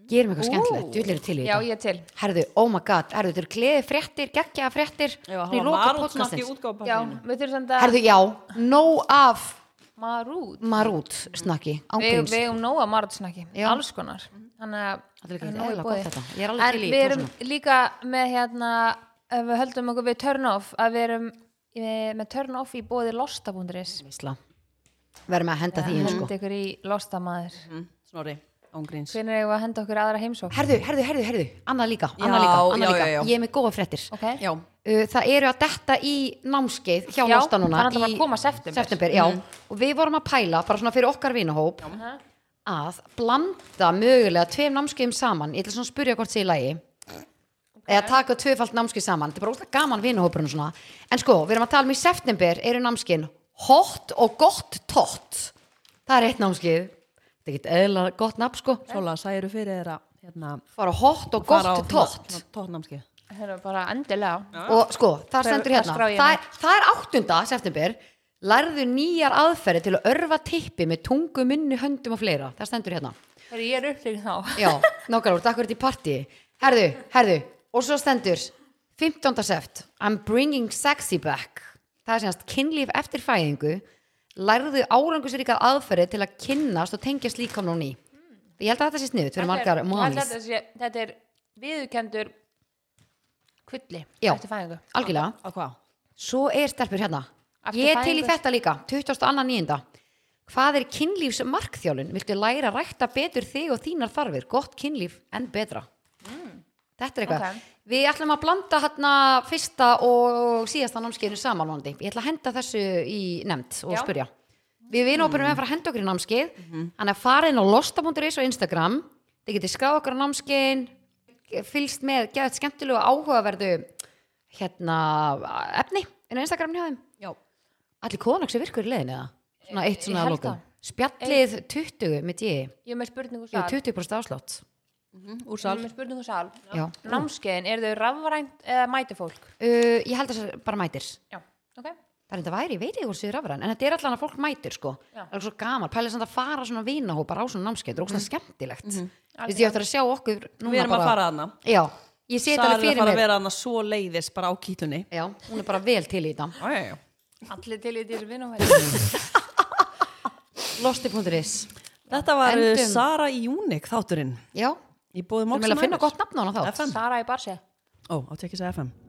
gerum eitthvað skemmtilegt, við viljum til í Já, þetta ég er til. herðu, oh my god, herðu, þetta eru gleði fréttir geggjaða fréttir, já, í hann var loka marút snart í podcastins Já, útgáfapartíinu við þurfum samt að herðu, já, nóg af marút. marút snakki, Við ángríns við eigum nóg að marút snakki. Já. Alls konar. Þannig að Þetta er líka nóg í eðlilega boði. gott þetta. Ég er alveg En til í við erum svona. líka með hérna, ef við höldum okkur við turn off, að við erum eh, með turn off í bóði losta.is. Veisla. verðum að henda því inn sko Henda ykkur í losta maður. Mm, snorri, ángríns Hvernig eigum við að henda okkur aðra heimsók? herðu, herðu, herðu, herðu, annað líka, Já, annað líka, annað já, líka. já, já. ég er með góða fréttir Ok? já, Uh, það eru að detta í námskeið hjá Já, Losta núna það er alltaf í að koma september. já, og við vorum að pæla bara svona fyrir okkar vinahóp að blanda mögulega tveim námskeiðum saman ég ætla svona að spyrja hvort sé í lagi eða taka tvöfald námskeið saman þetta er bara óslega gaman vinahópurinn og svona en sko, við erum að tala um í september eru námskeiðin hot og gott tott það er eitt námskeið þetta er ekkert eðla gott nafn sko Sóla, særu fyrir þeirra hérna, fara hot og gott tott tóttnámski Það er bara endilega. og sko, það stendur það hérna skrá ég það er, það er 8. september lærðu nýjar aðferði til að örfa tippi með tungu, munni, höndum og fleira það stendur hérna Þegar ég er upplegin þá. já, nákvæmlega, takk fyrir þetta í partí herðu, herðu, og svo stendur 15. sept I'm bringing sexy back það er sérnast kynlíf eftir fæðingu lærðu árangusríkar aðferði til að kynnast og tengjast líkam og ný ég held að þetta sé sniðut fyrir margar móðanís Þetta, sé- þetta er viðurkendur kvulli Já. eftir fæðingu. algjörlega á hvað? Svo er stelpur hérna Aftur Ég er til í fæðingu. þetta líka, 22.9. Hvað er kynlífs markþjálun? Viltu læra að rækta betur þig og þínar þarfir? Gott kynlíf en betra Þetta er eitthvað Mm. Ok. Við ætlum að blanda hérna fyrsta og síðasta námskeiðinu samanvandi Ég ætla að henda þessu í nefnd og Já. Mhm. spyrja Við vinópunum mm. að fara að henda okkur í námskeið Þannig að fara inn á losta.is og Instagram Þið getið skráð okkur á námskeiðin fylgst með, geðað skemmtilegu og áhugaverðu hérna efni inn á Instagram hjá þeim Já, Allir konaks er virkur í leiðin eða? Svona eitt Ég svona að held lokum það. Spjallið 20 með ég Ég er með spurningu um Jú, sal. 20% afslátt Mm, úr Ég sal er með spurningu sal. Já. Námskeiðin, eru þau rafrænt eða mæti fólk? uh, Ég held að það bara mætir Já. Ok. Það er þetta væri, ég veit ekki hvort sér rafræn En þetta er allan að fólk mætir sko Já. Það er svo gaman, pælið samt að fara svona vinahópar á svona námskeið Það er ógstæðan skemmtilegt mm Vist, Ég ætti að sjá okkur núna Mm-hmm. Við erum bara að fara aðna Já, ég sé þetta Sal alveg er að fyrir fara að mér vera aðna svo leiðis bara á kýtlunni Já, hún er bara vel til í þetta Þetta Allir til í þessu [laughs] vinnumhæri. Losti.is var uh, Endum. Sara í Júnik þátturinn Já, Í bóði þú Mox meðlega að finna gott nafn á hana þá FM Sara í barsi. Ó, áttu ekki að segja FM